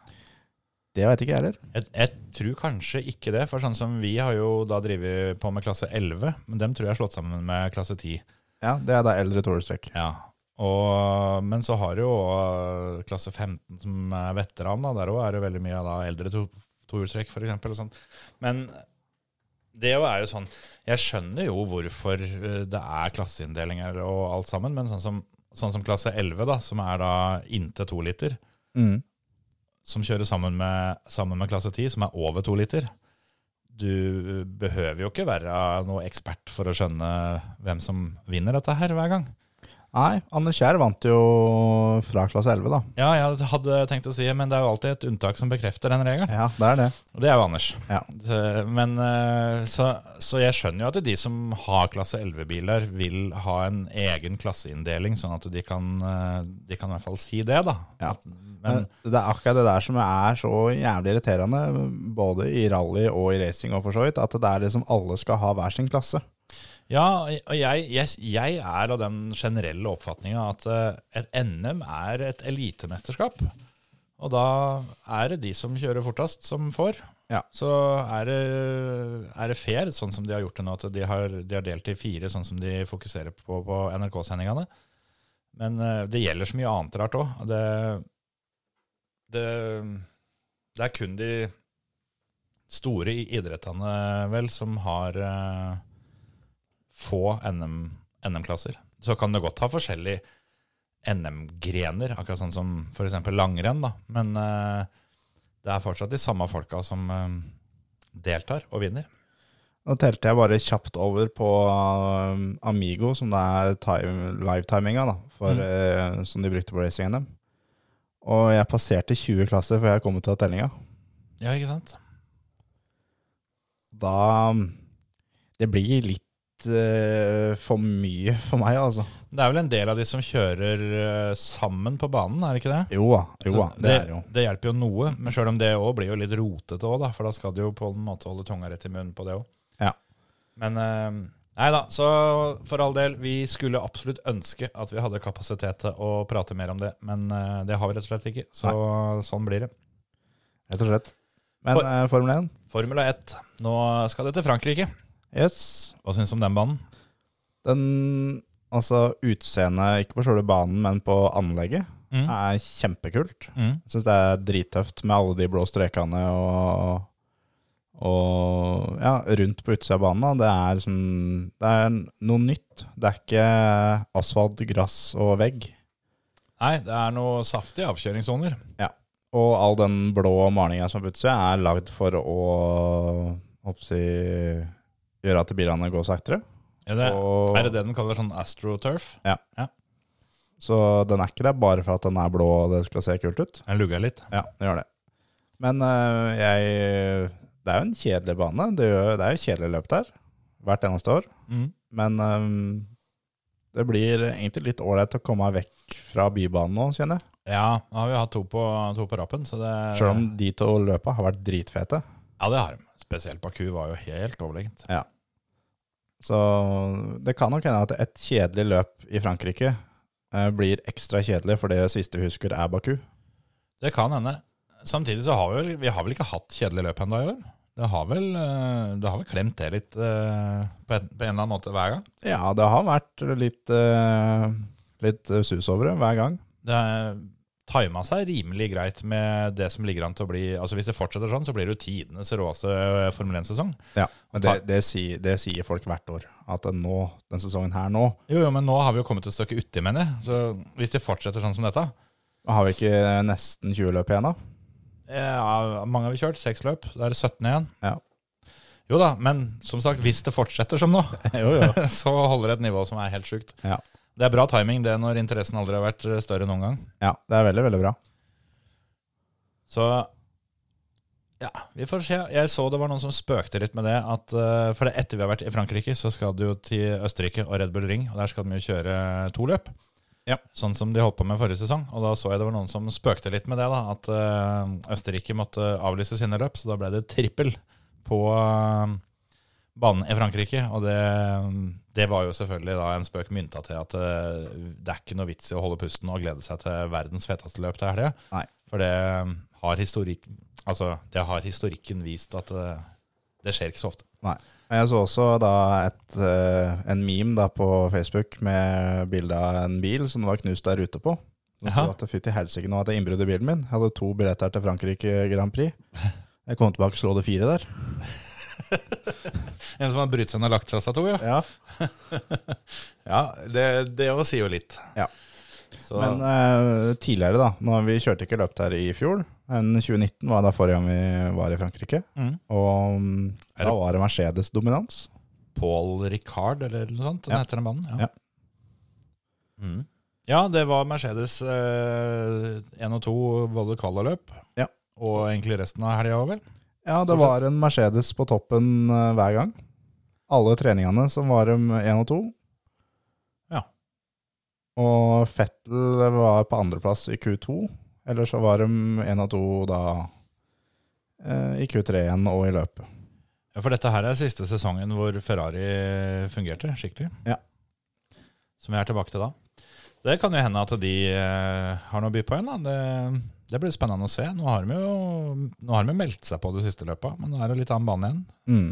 Speaker 4: Det veit ikke jeg heller.
Speaker 1: Jeg, jeg tror kanskje ikke det, for sånn som vi har jo da drevet på med klasse 11, men dem tror jeg er slått sammen med klasse 10.
Speaker 4: Ja, Det er da eldre tohjulstrekk.
Speaker 1: Ja. Og, men så har du jo øh, klasse 15 som er veteran, da. der òg er det veldig mye av da eldre to- tohjulstrekk for eksempel, og sånn. Men det jo er jo sånn Jeg skjønner jo hvorfor øh, det er klasseinndelinger og alt sammen, men sånn som, sånn som klasse 11, da, som er da inntil to liter,
Speaker 4: Mm.
Speaker 1: som kjører sammen med, sammen med klasse 10, som er over to liter. Du eh, behøver jo ikke være noe ekspert for å skjønne hvem som vinner dette her hver gang.
Speaker 4: Nei, Anne Kjær vant jo fra klasse 11, da.
Speaker 1: Ja, jeg hadde tenkt å si, men det er jo alltid et unntak som bekrefter den regelen.
Speaker 4: Ja, det er det.
Speaker 1: Og det er jo Anders.
Speaker 4: Ja.
Speaker 1: Så- Men, eh, så, så jeg skjønner jo at de som har klasse 11-biler, vil ha en egen klasseinndeling, sånn at de kan, eh, de kan i hvert fall si det, da.
Speaker 4: Ja.
Speaker 1: Men,
Speaker 4: Men det er akkurat det der som er så jævlig irriterende, både i rally og i racing og for så vidt, at det er liksom alle skal ha hver sin klasse.
Speaker 1: Ja, og jeg, jeg, jeg er av den generelle oppfatninga at eh, et NM er et elitemesterskap. Og da er det de som kjører fortest, som får.
Speaker 4: Ja.
Speaker 1: Så er det, er det fair, sånn som de har gjort det nå, at de har, de har delt i fire, sånn som de fokuserer på på NRK-sendingene. Men eh, det gjelder så mye annet rart òg. Det, det, det er kun de store i- idrettene, vel, som har eh, få NM NM-klasser. så kan det godt ha forskjellige NM-grener, akkurat sånn som f.eks. langrenn. da. Men eh, det er fortsatt de samme folka som eh, deltar og vinner.
Speaker 4: Nå telte jeg bare kjapt over på um, Amigo, som det er time, livetiminga da, for, eh, som de brukte på Racing NM. Og jeg passerte 20 klasser før jeg kom til tellinga.
Speaker 1: Ja, ikke sant?
Speaker 4: Da um, Det blir litt eh, for mye for meg, altså.
Speaker 1: Det er vel en del av de som kjører eh, sammen på banen, er det ikke det?
Speaker 4: Jo da, jo da.
Speaker 1: Så
Speaker 4: Det er jo.
Speaker 1: det hjelper jo noe, men sjøl om det òg blir jo litt rotete òg, da. For da skal du jo på en måte holde tunga rett i munnen på det òg.
Speaker 4: Ja.
Speaker 1: Men eh, nei da, så for all del, vi skulle absolutt ønske at vi hadde kapasitet til å prate mer om det, men eh, det har vi rett og slett ikke. Så sånn blir det.
Speaker 4: Rett og slett. Men
Speaker 1: For-
Speaker 4: eh, Formel 1,
Speaker 1: Formula 1. Nå skal det til Frankrike.
Speaker 4: yes.
Speaker 1: Hva syns du om den banen?
Speaker 4: Den Altså utseendet, ikke på selve banen, men på anlegget,
Speaker 1: Mm.
Speaker 4: er kjempekult.
Speaker 1: Mm.
Speaker 4: Jeg syns det er drittøft med alle de blå strekene og, og ja, rundt på utsida av banen. da. Det er, som, det er noe nytt. Det er ikke asfalt, gress og vegg.
Speaker 1: Nei, det er noe saftige avkjøringssoner.
Speaker 4: Og all den blå malinga som er på utsida, er lagd for å hoppsi, gjøre at bilene går saktere.
Speaker 1: Er det,
Speaker 4: Og-
Speaker 1: er det det de kaller sånn astroturf?
Speaker 4: Så den er ikke der bare for at den er blå og det skal se kult ut.
Speaker 1: Den lugga litt.
Speaker 4: Ja, den gjør det. Men øh, jeg Det er jo en kjedelig bane. Det, gjør, det er jo kjedelig løp der hvert eneste år.
Speaker 1: Mm.
Speaker 4: Men øh, det blir egentlig litt ålreit å komme vekk fra bybanen nå, kjenner jeg.
Speaker 1: Ja, nå har vi hatt to på, to på rappen, så det
Speaker 4: Selv om de to løpa har vært dritfete.
Speaker 1: Ja, det har de. Spesielt Baku var jo helt overlegent.
Speaker 4: Så det kan nok hende at et kjedelig løp i Frankrike eh, blir ekstra kjedelig, for det siste vi husker er Baku.
Speaker 1: Det kan hende. Samtidig så har vi vel, vi har vel ikke hatt kjedelig løp ennå i år. Det har vel, eh, det har vel klemt det litt eh, på en, på en eller annen måte hver gang.
Speaker 4: Ja, det har vært litt, eh, litt sus over det hver gang.
Speaker 1: Det tima seg rimelig greit med det som ligger an til å bli Altså Hvis det fortsetter sånn, så blir det jo tidenes råeste eh, Formel 1-sesong.
Speaker 4: Ja, men det, det, sier, det sier folk hvert år, at den nå, den sesongen her nå,
Speaker 1: Jo, jo, men nå har vi jo kommet et stykke uti, mener jeg. Så hvis det fortsetter sånn som dette
Speaker 4: har vi ikke nesten 20 løp igjen da.
Speaker 1: ja, Mange har vi kjørt, seks løp. Da er det 17 igjen.
Speaker 4: Ja.
Speaker 1: Jo da, men som sagt, hvis det fortsetter som nå,
Speaker 4: Jo, jo.
Speaker 1: så holder det et nivå som er helt sjukt.
Speaker 4: Ja.
Speaker 1: Det er bra timing, det, når interessen aldri har vært større enn noen gang.
Speaker 4: Ja, det er veldig, veldig bra.
Speaker 1: Så ja, vi får se. Jeg så det var noen som spøkte litt med det. At, eh, for det etter vi har vært i Frankrike, så skal du jo til Østerrike og Red Bull Ring. Og der skal de jo kjøre to løp.
Speaker 4: Ja.
Speaker 1: Sånn som de holdt på med forrige sesong. Og da så jeg det var noen som spøkte litt med det. da, At eh, Østerrike måtte avlyse sine løp, så da ble det trippel på eh, banen i Frankrike. Og det, det var jo selvfølgelig da en spøk mynta til at eh, det er ikke noe vits i å holde pusten og glede seg til verdens feteste løp til helga.
Speaker 4: Nei.
Speaker 1: For det um, har, historik, altså, det har historikken vist at eh, det skjer ikke så ofte.
Speaker 4: Jeg så også da et, eh, en meme da på Facebook med bilde av en bil som det var knust der ute på. Som
Speaker 1: Jaha.
Speaker 4: sto at fytti helsike nå at det er innbrudd i bilen min. Jeg hadde to billetter til Frankrike Grand Prix. Jeg kom tilbake og slo det fire der.
Speaker 1: En som har brytt seg ned lagt fra seg to, ja.
Speaker 4: Ja,
Speaker 1: Ja, Det, det også sier jo litt.
Speaker 4: Ja.
Speaker 1: Så,
Speaker 4: Men eh, tidligere, da. Når vi kjørte ikke løpt her i fjor. Men 2019 var da forrige gang vi var i Frankrike.
Speaker 1: Mm.
Speaker 4: Og mm,
Speaker 1: Er
Speaker 4: da
Speaker 1: det-
Speaker 4: var det Mercedes-dominans.
Speaker 1: Paul Ricard, eller noe sånt, den
Speaker 4: Ja.
Speaker 1: heter den banen. Ja.
Speaker 4: Ja.
Speaker 1: Mm. ja, det var Mercedes eh, 1 og 2 både kval og løp,
Speaker 4: Ja.
Speaker 1: og egentlig resten av helga òg, vel?
Speaker 4: Ja, det
Speaker 1: Fortsatt.
Speaker 4: var en Mercedes på toppen eh, hver gang. Alle treningene som var om én og to.
Speaker 1: Ja.
Speaker 4: Og Fettel var på andreplass i Q2. Eller så var de én og to da eh, i Q3 igjen og i løpet.
Speaker 1: Ja, For dette her er siste sesongen hvor Ferrari fungerte skikkelig.
Speaker 4: Ja.
Speaker 1: Som vi er tilbake til da. Det kan jo hende at de eh, har noe å by på igjen. da. Det, det blir spennende å se. Nå har de jo nå har de jo meldt seg på det siste løpet, men nå er det litt annen bane igjen.
Speaker 4: Mm.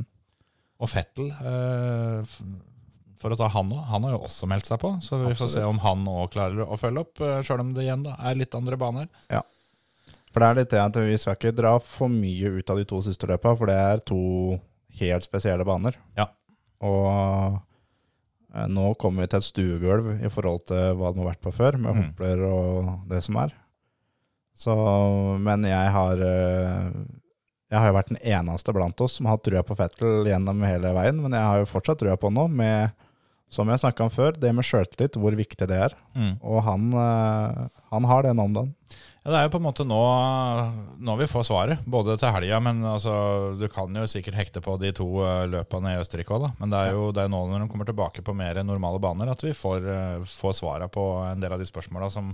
Speaker 1: Og Fettel, eh, f- for å ta han òg, han har jo også meldt seg på. Så vi får
Speaker 4: Absolutt.
Speaker 1: se om han òg klarer å følge opp, eh, sjøl om det igjen da er litt andre baner.
Speaker 4: For det er litt det at vi skal ikke dra for mye ut av de to siste løpa, for det er to helt spesielle baner.
Speaker 1: Ja.
Speaker 4: Og eh, nå kommer vi til et stuegulv i forhold til hva det har vært på før, med
Speaker 1: Mm.
Speaker 4: hopler og det som er. Så, men jeg har eh, Jeg har jo vært den eneste blant oss som har hatt trua på Fettel gjennom hele veien, men jeg har jo fortsatt trua på han nå, med, som jeg snakka om før, det med sjøltillit, hvor viktig det er.
Speaker 1: Mm.
Speaker 4: Og han, eh, han har den om dagen.
Speaker 1: Ja, det er jo på en måte nå, nå vi får svaret, både til helga, men altså, du kan jo sikkert hekte på de to eh, løpene i Østerrike òg, da. Men det er jo det er nå når de kommer tilbake på mer normale baner, at vi får, eh, får svara på en del av de spørsmåla som,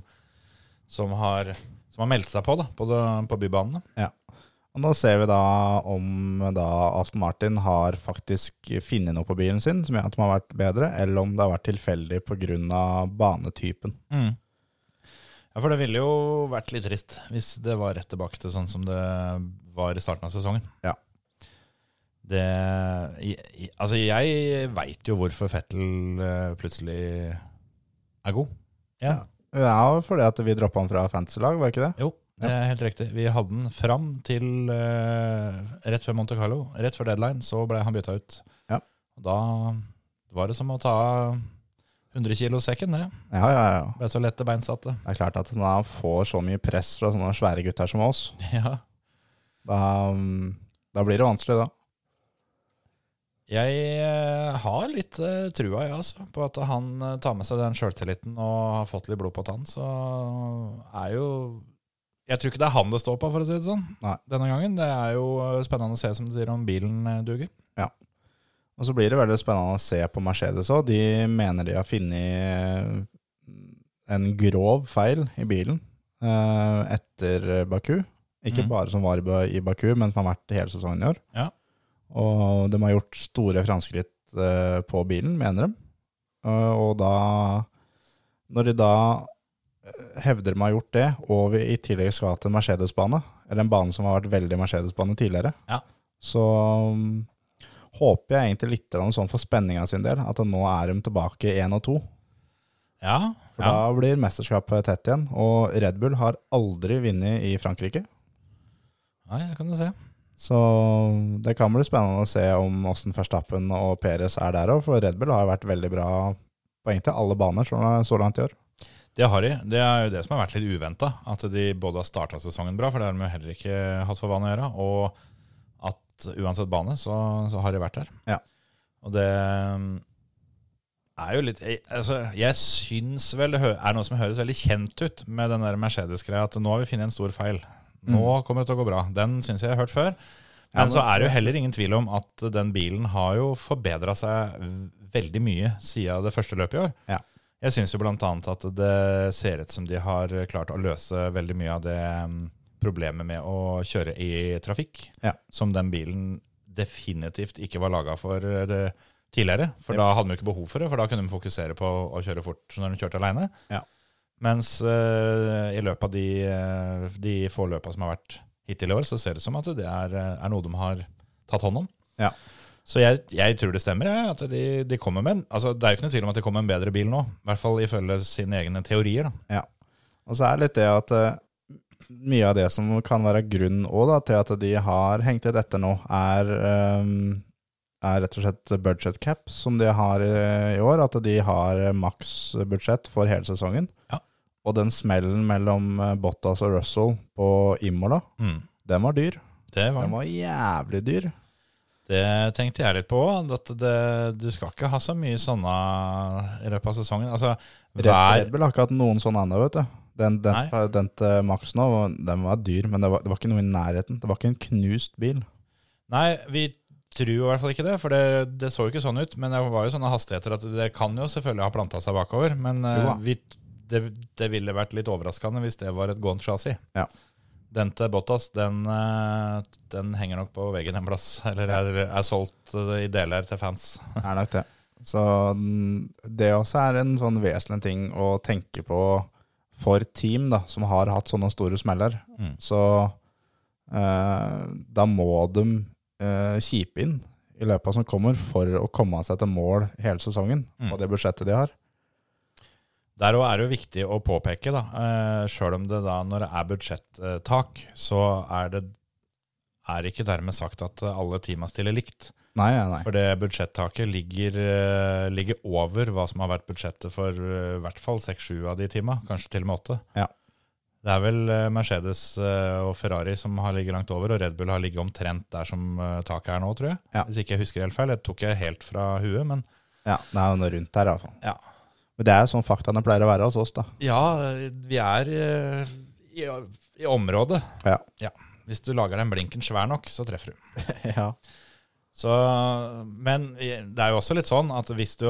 Speaker 1: som, har- som har meldt seg på da, på, det, på bybanene.
Speaker 4: Og nå ser vi da om da Aston Martin har faktisk funnet noe på bilen sin som gjør at de har vært bedre, eller om det har vært tilfeldig pga. banetypen.
Speaker 1: Mm. Ja, For det ville jo vært litt trist hvis det var rett tilbake til sånn som det var i starten av sesongen.
Speaker 4: Ja.
Speaker 1: Det, i- i- altså jeg veit jo hvorfor Fettel eh, plutselig er god. Ja.
Speaker 4: Ja, fordi at vi droppa han fra fantasy-lag, var ikke det?
Speaker 1: Jo, det er helt riktig. Vi hadde den fram til eh, rett før Monte Carlo. Rett før deadline så ble han bytta ut.
Speaker 4: Ja.
Speaker 1: Og da var det som å ta 100 kilo sekken, det.
Speaker 4: Ja, ja, ja.
Speaker 1: Ble så lette beinsatte.
Speaker 4: Det er klart at når han får så mye press fra sånne svære gutter som oss,
Speaker 1: Ja.
Speaker 4: da, mm, da blir det vanskelig, da.
Speaker 1: Jeg eh, har litt eh, trua, jeg, altså, på at han eh, tar med seg den sjøltilliten og har fått litt blod på tann. Så er jo Jeg tror ikke det er han det står på, for å si det sånn,
Speaker 4: Nei.
Speaker 1: denne gangen. Det er jo eh, spennende å se, som du sier, om bilen eh, duger.
Speaker 4: Og så blir det veldig spennende å se på Mercedes òg. De mener de har funnet eh, en grov feil i bilen eh, etter Baku. Ikke
Speaker 1: Mhm.
Speaker 4: bare som var i Ba- i Baku, men som har vært hele sesongen i år.
Speaker 1: Ja.
Speaker 4: Og de har gjort store framskritt eh, på bilen, mener de. Eh, og da Når de da eh, hevder de har gjort det, og vi i tillegg skal til Mercedes-bane, eller en bane som har vært veldig Mercedes-bane tidligere,
Speaker 1: Ja.
Speaker 4: så mm, håper jeg egentlig litt grann sånn for spenninga sin del, at nå er de tilbake i én og to.
Speaker 1: Ja,
Speaker 4: For da blir mesterskapet tett igjen, og Red Bull har aldri vunnet i Frankrike.
Speaker 1: Nei, det kan du se.
Speaker 4: Så det kan bli spennende å se om Åsten Verstappen og Perez er der òg, for Red Bull har jo vært veldig bra på egentlig alle baner så- så langt i år.
Speaker 1: Det har de. Det er jo det som har vært litt uventa. At de både har starta sesongen bra, for det har de jo heller ikke hatt for vane å gjøre, og at uansett bane, så, så har de vært der.
Speaker 4: Ja.
Speaker 1: Og det er jo litt jeg- altså, Jeg syns vel det hø- er noe som høres veldig kjent ut med den der Mercedes-greia, at nå har vi funnet en stor feil. Nå kommer det til å gå bra. Den syns jeg jeg har hørt før. Men
Speaker 4: Mm. Ja, men-
Speaker 1: så er det jo heller ingen tvil om at den bilen har jo forbedra seg veldig mye siden det første løpet i år.
Speaker 4: Ja.
Speaker 1: Jeg syns jo blant annet at det ser ut som de har klart å løse veldig mye av det mm, problemet med å kjøre i trafikk,
Speaker 4: Ja.
Speaker 1: som den bilen definitivt ikke var laga for eh, det tidligere. For
Speaker 4: Jep.
Speaker 1: da hadde de jo ikke behov for det, for da kunne de fokusere på å kjøre fort når de kjørte aleine.
Speaker 4: Ja.
Speaker 1: Mens eh, i løpet av de, eh, de få løpa som har vært hittil i år, så ser det ut som at det er, eh, er noe de har tatt hånd om.
Speaker 4: Ja.
Speaker 1: Så jeg, jeg tror det stemmer, jeg, at de, de kommer med en altså, Det er jo ikke noe tvil om at de kommer med en bedre bil nå. I hvert fall ifølge sine egne teorier. Da.
Speaker 4: Og så er det litt det at eh, mye av det som kan være grunnen også da, til at de har hengt litt etter nå, er, ehm, er rett og slett budget cap som de har eh, i år. At de har maks budsjett for hele sesongen.
Speaker 1: Ja.
Speaker 4: Og den smellen mellom eh, Bottas og Russell på Imola, den var dyr.
Speaker 1: Mm, Det, var,
Speaker 4: Den var jævlig dyr.
Speaker 1: det tenkte jeg litt på. At det, du skal ikke ha så mye sånne i løpet av sesongen. Altså,
Speaker 4: Red, Red
Speaker 1: hver,
Speaker 4: Bull har ikke hatt noen sånn ennå, vet du. Den, den, den til Max nå, den var dyr, men det var, det var ikke noe i nærheten. Det var ikke en knust bil.
Speaker 1: nei, vi tror jo i hvert fall ikke det, for det, det så jo ikke sånn ut. Men det var jo sånne hastigheter at det kan jo selvfølgelig ha planta seg bakover. Men eh,
Speaker 4: Jo da.
Speaker 1: vi, det, det ville vært litt overraskende hvis det var et gående chassis.
Speaker 4: Ja.
Speaker 1: Den til Bottas, den, eh, den henger nok på veggen en plass. Eller er, er solgt eh, i deler til fans.
Speaker 4: er nok det. Så mm, det også er en sånn vesentlig ting å tenke på for team da, som har hatt sånne store smeller.
Speaker 1: Mm.
Speaker 4: Så eh, da må de eh, kjipe inn i løpet av som kommer for å komme seg til mål hele sesongen
Speaker 1: Mm.
Speaker 4: på det budsjettet de har.
Speaker 1: Der også er det jo viktig å påpeke, da, eh, sjøl om det da når det er budsjettak, så er det er ikke dermed sagt at alle teama stiller likt.
Speaker 4: Nei, nei, nei.
Speaker 1: For det budsjettaket ligger, eh, ligger over hva som har vært budsjettet for eh, i hvert fall seks-sju av de teama, kanskje til og med åtte.
Speaker 4: Ja.
Speaker 1: Det er vel eh, Mercedes eh, og Ferrari som har ligget langt over, og Red Bull har ligget omtrent der som eh, taket er nå, tror jeg.
Speaker 4: Ja.
Speaker 1: Hvis ikke jeg husker helt feil. Det tok jeg helt fra huet, men
Speaker 4: Ja, det er jo noe rundt her i hvert fall.
Speaker 1: Ja.
Speaker 4: Men det er jo sånn faktaene pleier å være hos oss da.
Speaker 1: Ja, vi er eh, i, i området.
Speaker 4: Ja.
Speaker 1: Hvis du lager den blinken svær nok, så treffer du.
Speaker 4: ja.
Speaker 1: Så, men det er jo også litt sånn at hvis du,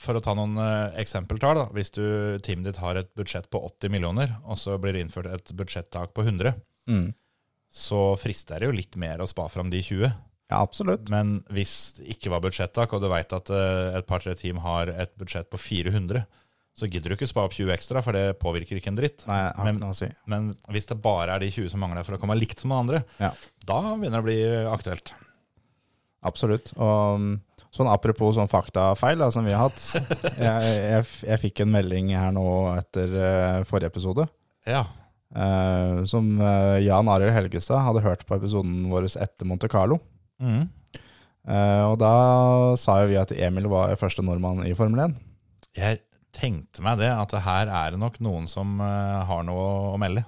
Speaker 1: for å ta noen eh, eksempeltall, da, hvis du, teamet ditt har et budsjett på 80 millioner, og så blir det innført et budsjettak på 100,
Speaker 4: Mm.
Speaker 1: så frister det jo litt mer å spa fram de 20.
Speaker 4: Ja, absolutt.
Speaker 1: Men hvis det ikke var budsjettak, og du veit at eh, et par-tre team har et budsjett på 400, så gidder du ikke spa opp 20 ekstra, for det påvirker ikke en dritt.
Speaker 4: Nei, jeg har
Speaker 1: Men-
Speaker 4: ikke noe å si.
Speaker 1: Men hvis det bare er de 20 som mangler for å komme likt som de andre,
Speaker 4: Ja.
Speaker 1: da begynner det å bli eh, aktuelt.
Speaker 4: Absolutt. Og um, sånn apropos sånn faktafeil da, som vi har hatt. Jeg, jeg, f- jeg fikk en melding her nå etter eh, forrige episode.
Speaker 1: Ja.
Speaker 4: eh, som eh, Jan Arild Helgestad hadde hørt på episoden vår etter Monte Carlo.
Speaker 1: Mm.
Speaker 4: Eh, og da sa jo vi at Emil var første nordmann i Formel 1.
Speaker 1: Jeg tenkte meg det, at det her er det nok noen som eh, har noe å melde.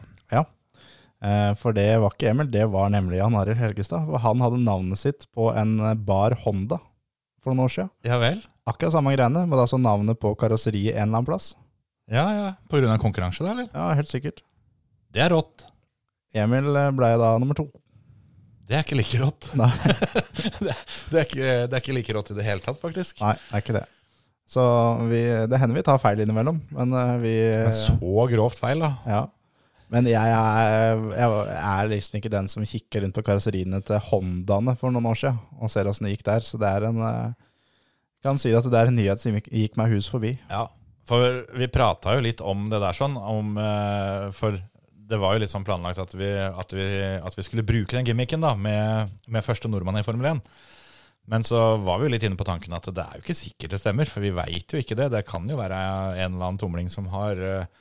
Speaker 4: Eh, for det var ikke Emil, det var nemlig Jan Arild Helgestad. For han hadde navnet sitt på en eh, bar Honda for noen år siden.
Speaker 1: Ja vel?
Speaker 4: Akkurat samme greiene, men altså navnet på karosseriet en eller annen plass.
Speaker 1: Ja, ja. På grunn av konkurranse, da, eller?
Speaker 4: Ja, helt sikkert.
Speaker 1: Det er rått.
Speaker 4: Emil blei da nummer to.
Speaker 1: Det er ikke like rått.
Speaker 4: Nei.
Speaker 1: det, det, er ikke, det er ikke like rått i det hele tatt, faktisk.
Speaker 4: Nei, det er ikke det. Så vi, det hender vi tar feil innimellom, men eh, vi
Speaker 1: Men så grovt feil, da.
Speaker 4: Ja. Men jeg er, jeg er liksom ikke den som kikker rundt på karosseriene til Hondaene for noen år siden og ser åssen det gikk der. Så det er en eh, Kan si at det er en nyhet som gikk- gikk meg hus forbi.
Speaker 1: Ja, for vi prata jo litt om det der sånn, om, eh, for det var jo litt sånn planlagt at vi, at vi, at vi skulle bruke den gimmicken da, med, med første nordmann i Formel 1. Men så var vi jo litt inne på tanken at det er jo ikke sikkert det stemmer, for vi veit jo ikke det. Det kan jo være en eller annen tomling som har eh,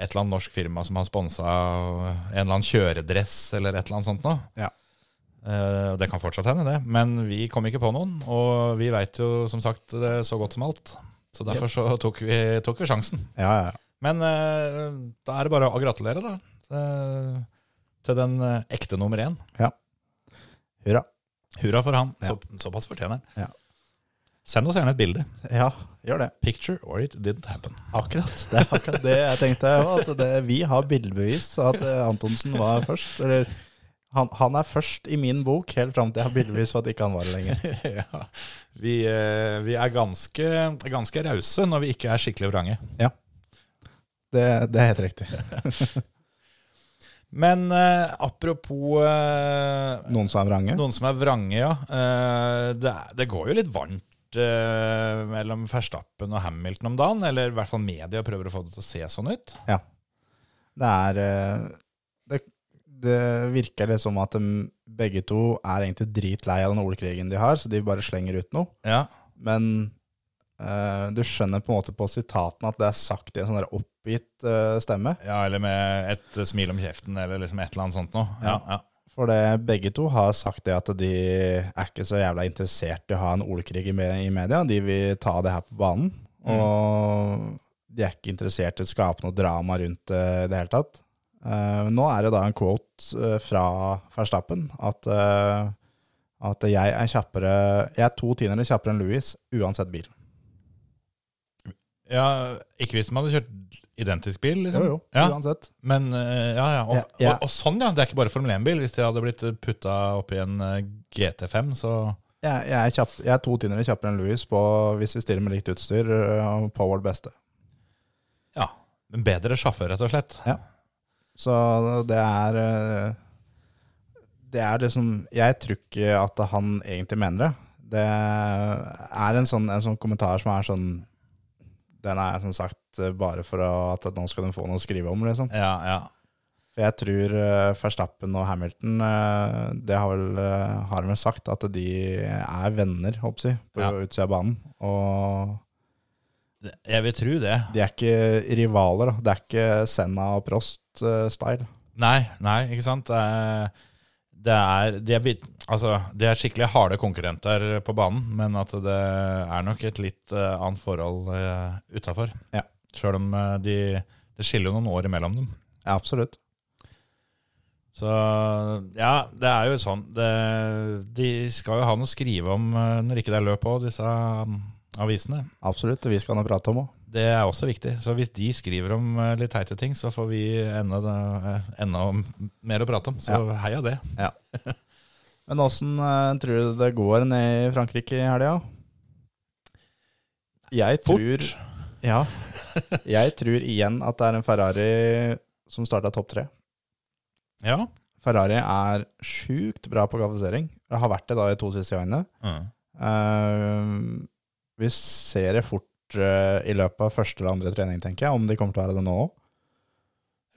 Speaker 1: et eller annet norsk firma som har sponsa en eller annen kjøredress eller et eller annet sånt noe.
Speaker 4: Ja.
Speaker 1: Eh, Det kan fortsatt hende, det. Men vi kom ikke på noen, og vi veit jo som sagt det så godt som alt. Så derfor så tok vi, tok vi sjansen.
Speaker 4: Ja, ja, ja.
Speaker 1: Men eh, da er det bare å gratulere, da. eh, til den eh, ekte nummer én.
Speaker 4: Hurra.
Speaker 1: Hurra for han.
Speaker 4: Ja.
Speaker 1: Så, såpass fortjener han.
Speaker 4: Ja.
Speaker 1: Send oss gjerne et bilde.
Speaker 4: Ja, gjør det.
Speaker 1: Picture or it didn't happen.
Speaker 4: Akkurat. Det er akkurat det jeg tenkte. jeg også, At det, vi har bildebevis at eh, Antonsen var først. Eller han, han er først i min bok, helt fram til jeg har bildebevis for at ikke han var det lenger.
Speaker 1: ja. vi, eh, vi er ganske, ganske rause når vi ikke er skikkelig vrange.
Speaker 4: Det, det er helt riktig.
Speaker 1: Men eh, apropos eh,
Speaker 4: Noen som er vrange?
Speaker 1: Noen som er vrange, ja. Eh, det, er, det går jo litt varmt eh, mellom Verstappen og Hamilton om dagen. Eller i hvert fall media prøver å få det til å se sånn ut.
Speaker 4: Det er eh, det, det virker litt som at de, begge to er egentlig dritlei av den ordkrigen de har, så de bare slenger ut noe.
Speaker 1: Ja,
Speaker 4: Men eh, du skjønner på en måte på sitatene at det er sagt i en sånn der oppgitt eh, stemme.
Speaker 1: ja eller med et eh, smil om kjeften, eller liksom et eller annet sånt noe. Ja, ja.
Speaker 4: For det, begge to har sagt det at de er ikke så jævla interessert i å ha en ordkrig i, me- i media. De vil ta det her på banen.
Speaker 1: Mm.
Speaker 4: Og de er ikke interessert i å skape noe drama rundt det i det hele tatt. Eh, nå er det da en quote eh, fra Verstappen at, eh, at jeg er kjappere Jeg er to tiendere kjappere enn Louis uansett bil.
Speaker 1: ja ikke hvis man hadde kjørt identisk bil, liksom. Ja,
Speaker 4: Uansett.
Speaker 1: men eh, ja, ja. Og,
Speaker 4: Ja, ja.
Speaker 1: Og, og sånn, ja. Det er ikke bare Formel 1-bil. Hvis de hadde blitt putta oppi en eh, GT5, så
Speaker 4: Jeg, jeg, er kjapp, jeg er to tiendere kjappere enn Louis på, hvis vi stiller med likt utstyr eh, på vårt beste.
Speaker 1: ja. En bedre sjåfør, rett og slett.
Speaker 4: Så det er eh, Det er liksom Jeg tror ikke at han egentlig mener det. Det er en sånn, en sånn kommentar som er sånn Den er som sagt eh, bare for å- at nå skal de få noe å skrive om, liksom.
Speaker 1: Ja, ja.
Speaker 4: For jeg tror eh, Verstappen og Hamilton eh, Det har vel, eh, har de vel sagt at de er venner, håper jeg, på
Speaker 1: Ja.
Speaker 4: utsida av banen. Og
Speaker 1: Jeg vil tro det.
Speaker 4: de er ikke rivaler, da. Det er ikke Senna og eh, Prost-style.
Speaker 1: Nei, nei, ikke sant. Eh, Det er, de, er, bit- altså, de er skikkelig harde konkurrenter på banen, men at det er nok et litt eh, annet forhold uh, utafor.
Speaker 4: Ja.
Speaker 1: Sjøl om eh, de, det skiller jo noen år imellom dem.
Speaker 4: Ja, absolutt.
Speaker 1: Så ja, det er jo sånn. Det, de skal jo ha noe å skrive om eh, når ikke det er løp på disse mm, avisene.
Speaker 4: Absolutt, og vi skal nå prate om òg.
Speaker 1: Det er også viktig. Så hvis de skriver om eh, litt teite ting, så får vi enda, eh, enda mer å prate om. Så heia det.
Speaker 4: Men åssen eh, tror du det går ned i Frankrike i helga? Jeg
Speaker 1: Fort.
Speaker 4: tror Ja. Jeg tror igjen at det er en Ferrari som starta topp tre.
Speaker 1: Ja.
Speaker 4: Ferrari er sjukt bra på kvalifisering. Det har vært det da i to siste gangene.
Speaker 1: Mm.
Speaker 4: Eh, vi ser det fort eh, i løpet av første eller andre trening, tenker jeg, om de kommer til å være det nå òg.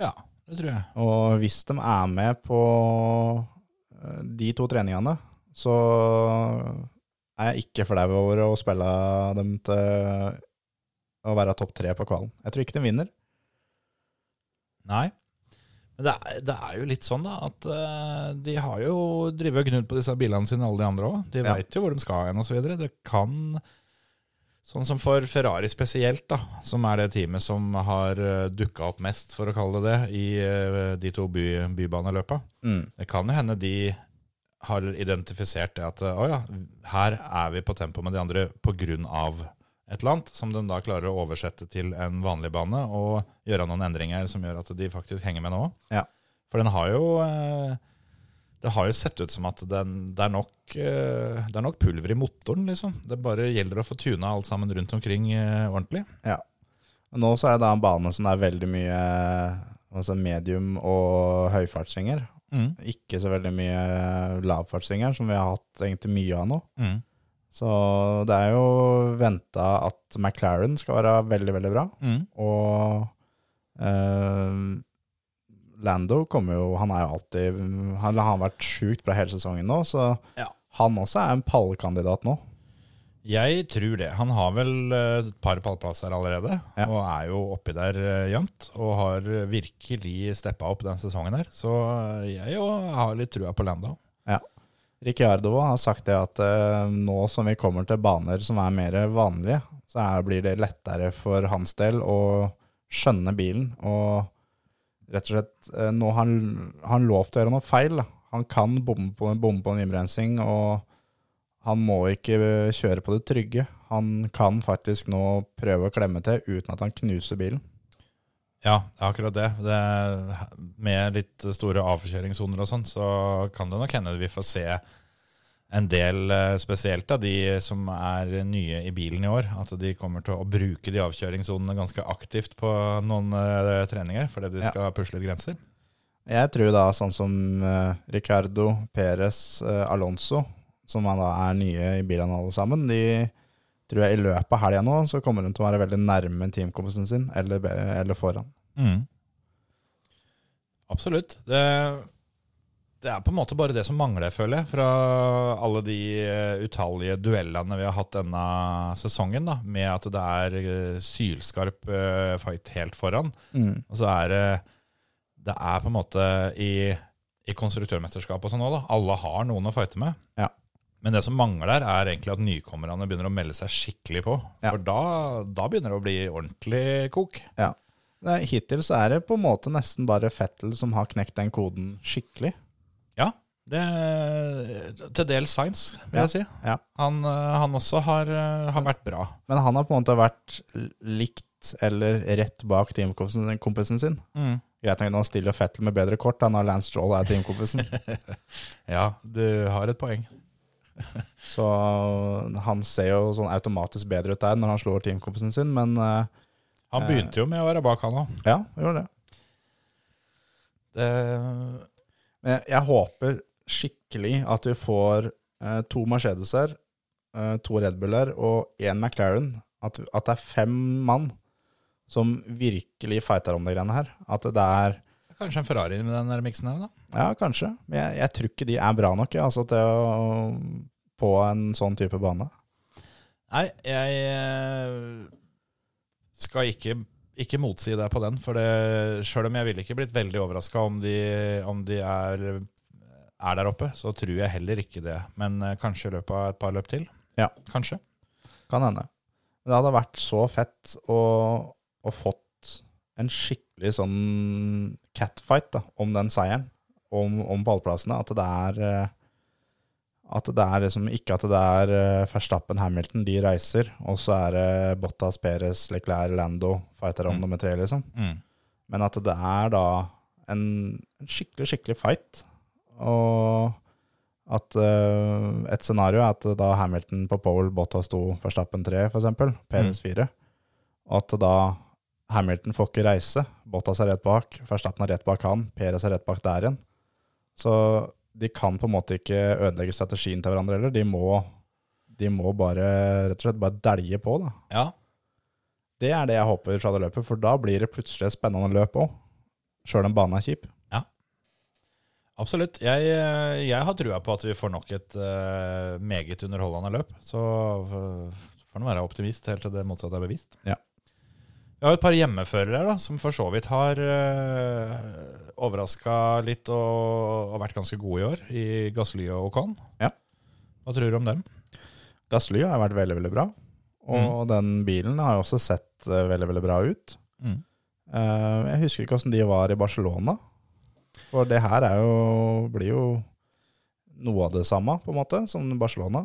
Speaker 1: Ja, det tror jeg.
Speaker 4: Og hvis de er med på eh, de to treningene, så er jeg ikke flau over å spille dem til å være topp tre på kvalen. Jeg tror ikke de vinner.
Speaker 1: Nei. Men det er, det er jo litt sånn da, at eh, de har jo drivet og gnudd på disse bilene sine, alle de andre òg. De
Speaker 4: Ja.
Speaker 1: vet veit jo hvor de skal hen osv. Det kan Sånn som for Ferrari spesielt, da, som er det teamet som har uh, dukka opp mest, for å kalle det det, i eh, de to by, bybaneløpa. Det kan jo hende de har identifisert det at eh, å ja, her er vi på tempo med de andre pga. et eller annet, som de da klarer å oversette til en vanlig bane og gjøre noen endringer som gjør at de faktisk henger med nå.
Speaker 4: Ja.
Speaker 1: For den har jo eh, Det har jo sett ut som at den, det, er nok, eh, det er nok pulver i motoren, liksom. Det bare gjelder å få tuna alt sammen rundt omkring eh, ordentlig.
Speaker 4: Nå så er det en bane som er veldig mye altså medium- og høyfartssvinger.
Speaker 1: Mm.
Speaker 4: Ikke så veldig mye lavfartssvinger, som vi har hatt egentlig mye av nå.
Speaker 1: Mm.
Speaker 4: Så det er jo venta at McLaren skal være veldig, veldig bra.
Speaker 1: Mm.
Speaker 4: Og eh, Lando kommer jo Han er jo alltid Han han har vært sjukt bra hele sesongen nå, så
Speaker 1: Ja.
Speaker 4: han også er en pallkandidat nå.
Speaker 1: Jeg tror det. Han har vel eh, et par pallplasser allerede,
Speaker 4: Ja.
Speaker 1: og er jo oppi der eh, jevnt. Og har virkelig steppa opp den sesongen her. Så eh, jeg jo har litt trua på Lando.
Speaker 4: Ricciardo har sagt det at eh, nå som vi kommer til baner som er mer vanlige, så er, blir det lettere for hans del å skjønne bilen. Og rett og slett, eh, nå har han, han lov til å gjøre noe feil. Da. Han kan bomme på, bomme på en innbremsing, og han må ikke eh, kjøre på det trygge. Han kan faktisk nå prøve å klemme til uten at han knuser bilen.
Speaker 1: Ja, det er akkurat det. det er, med litt store avkjøringssoner og sånn, så kan det nok hende vi får se en del, eh, spesielt av de som er nye i bilen i år, at de kommer til å bruke de avkjøringssonene ganske aktivt på noen eh, treninger, fordi de
Speaker 4: Ja.
Speaker 1: skal pusle litt grenser.
Speaker 4: Jeg tror da sånn som eh, Ricardo, Perez, eh, Alonso, som han da er nye i bilene alle sammen, de tror jeg i løpet av helga nå så kommer de til å være veldig nærme teamkompisen sin, eller, be- eller foran.
Speaker 1: Mm. Absolutt. Det, det er på en måte bare det som mangler, føler jeg, fra alle de eh, utallige duellene vi har hatt denne sesongen, da, med at det er eh, sylskarp eh, fight helt foran. Og så er det Det er på en måte i, i konstruktørmesterskapet og sånn òg, da. Alle har noen å fighte med.
Speaker 4: Ja.
Speaker 1: Men det som mangler, er egentlig at nykommerne begynner å melde seg skikkelig på.
Speaker 4: Ja.
Speaker 1: For da, da begynner det å bli ordentlig kok.
Speaker 4: Ja. Nei, hittil så er det på en måte nesten bare Fettel som har knekt den koden skikkelig.
Speaker 1: Ja, det, til dels Science, vil
Speaker 4: Ja,
Speaker 1: jeg si.
Speaker 4: ja.
Speaker 1: Han, eh, han også har, eh, har vært bra.
Speaker 4: Men han har på en måte vært l- likt eller rett bak teamkompisen kompisen sin.
Speaker 1: Mm.
Speaker 4: Greit nok, nå stiller Fettel med bedre kort, han har Lance Stroll er teamkompisen.
Speaker 1: Ja, du har et poeng.
Speaker 4: Så han ser jo sånn automatisk bedre ut der når han slår teamkompisen sin, men eh,
Speaker 1: Han begynte jo med å være bak, han òg.
Speaker 4: ja, han gjorde det. Men jeg, jeg håper skikkelig at vi får eh, to Mercedeser, eh, to Red Buller og én McLaren. At, at det er fem mann som virkelig fighter om de greiene her. At det er
Speaker 1: Kanskje en Ferrari med den der miksen her, da.
Speaker 4: Ja, kanskje, men jeg, jeg tror ikke de er bra nok jeg, altså, til å, på en sånn type bane.
Speaker 1: Nei, jeg eh, skal ikke, ikke motsi deg på den, for det, selv om jeg ville ikke blitt veldig overraska om de, om de er, er der oppe, så tror jeg heller ikke det. Men eh, kanskje i løpet av et par løp til.
Speaker 4: Ja.
Speaker 1: Kanskje.
Speaker 4: Kan hende. Men det hadde vært så fett å, å fått en skikkelig sånn catfight da, om den seieren, om, om pallplassene. At det er eh, at det er liksom ikke at det er eh, Verstappen, Hamilton, de reiser, og så er det Bottas, Perez, Leclerc, Lando, fighter om
Speaker 1: Mm.
Speaker 4: nummer tre, liksom.
Speaker 1: Mm.
Speaker 4: Men at det er da en, en skikkelig, skikkelig fight. Og at eh, et scenario er at da Hamilton på pole, Bottas sto Verstappen 3, for eksempel, Perez 4, og at da Hamilton får ikke reise, Bottas er rett bak, Verstappen er rett bak han, Perez er rett bak der igjen. Så de kan på en måte ikke ødelegge strategien til hverandre heller, de må, de må bare, rett og slett, bare delge på da.
Speaker 1: Ja,
Speaker 4: Det er det jeg håper fra det løpet, for da blir det plutselig et spennende løp òg. Sjøl om banen er kjip.
Speaker 1: Absolutt. Jeg, eh, jeg har trua på at vi får nok et eh, meget underholdende løp. Så eh, får en være optimist helt til det motsatte er bevist.
Speaker 4: Ja.
Speaker 1: Vi har jo et par hjemmeførere her da, som for så vidt har uh, overraska litt og, og vært ganske gode i år, i Gassly og Ocon.
Speaker 4: Ja.
Speaker 1: Hva tror du om dem?
Speaker 4: Gassly har vært veldig, veldig bra. Og den bilen har jo også sett eh, veldig, veldig bra ut.
Speaker 1: Mm.
Speaker 4: Eh, jeg husker ikke åssen de var i Barcelona. For det her er jo, blir jo noe av det samme, på en måte, som Barcelona.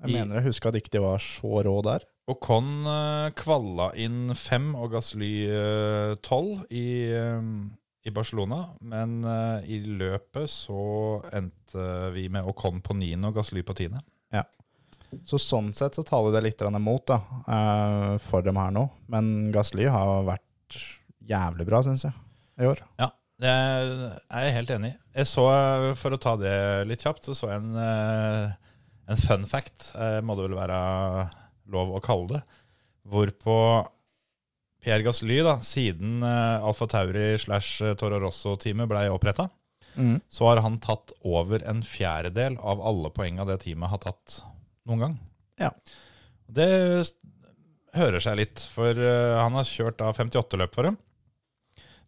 Speaker 4: Jeg
Speaker 1: I-
Speaker 4: mener jeg husker at ikke de var så rå der.
Speaker 1: Ocon eh, kvalla inn fem og Gasly eh, tolv i, eh, i Barcelona. Men eh, i løpet så endte vi med Ocon på niende og Gasly på tiende.
Speaker 4: Så sånn sett så taler det litt grann imot da, eh, for dem her nå. Men Gasly har vært jævlig bra, syns jeg, i år.
Speaker 1: Ja, det er jeg helt enig i. Jeg så, eh, For å ta det litt kjapt, så så jeg en, eh, en fun fact, eh, må det vel være lov å kalle det, hvorpå Pierre Gasly, da, siden eh, Alfa Tauri slash eh, Toro Rosso-teamet ble oppretta,
Speaker 4: Mm.
Speaker 1: så har han tatt over en fjerdedel av alle poenga det teamet har tatt noen gang.
Speaker 4: Ja.
Speaker 1: Det s- hører seg litt, for eh, han har kjørt da 58 løp for dem.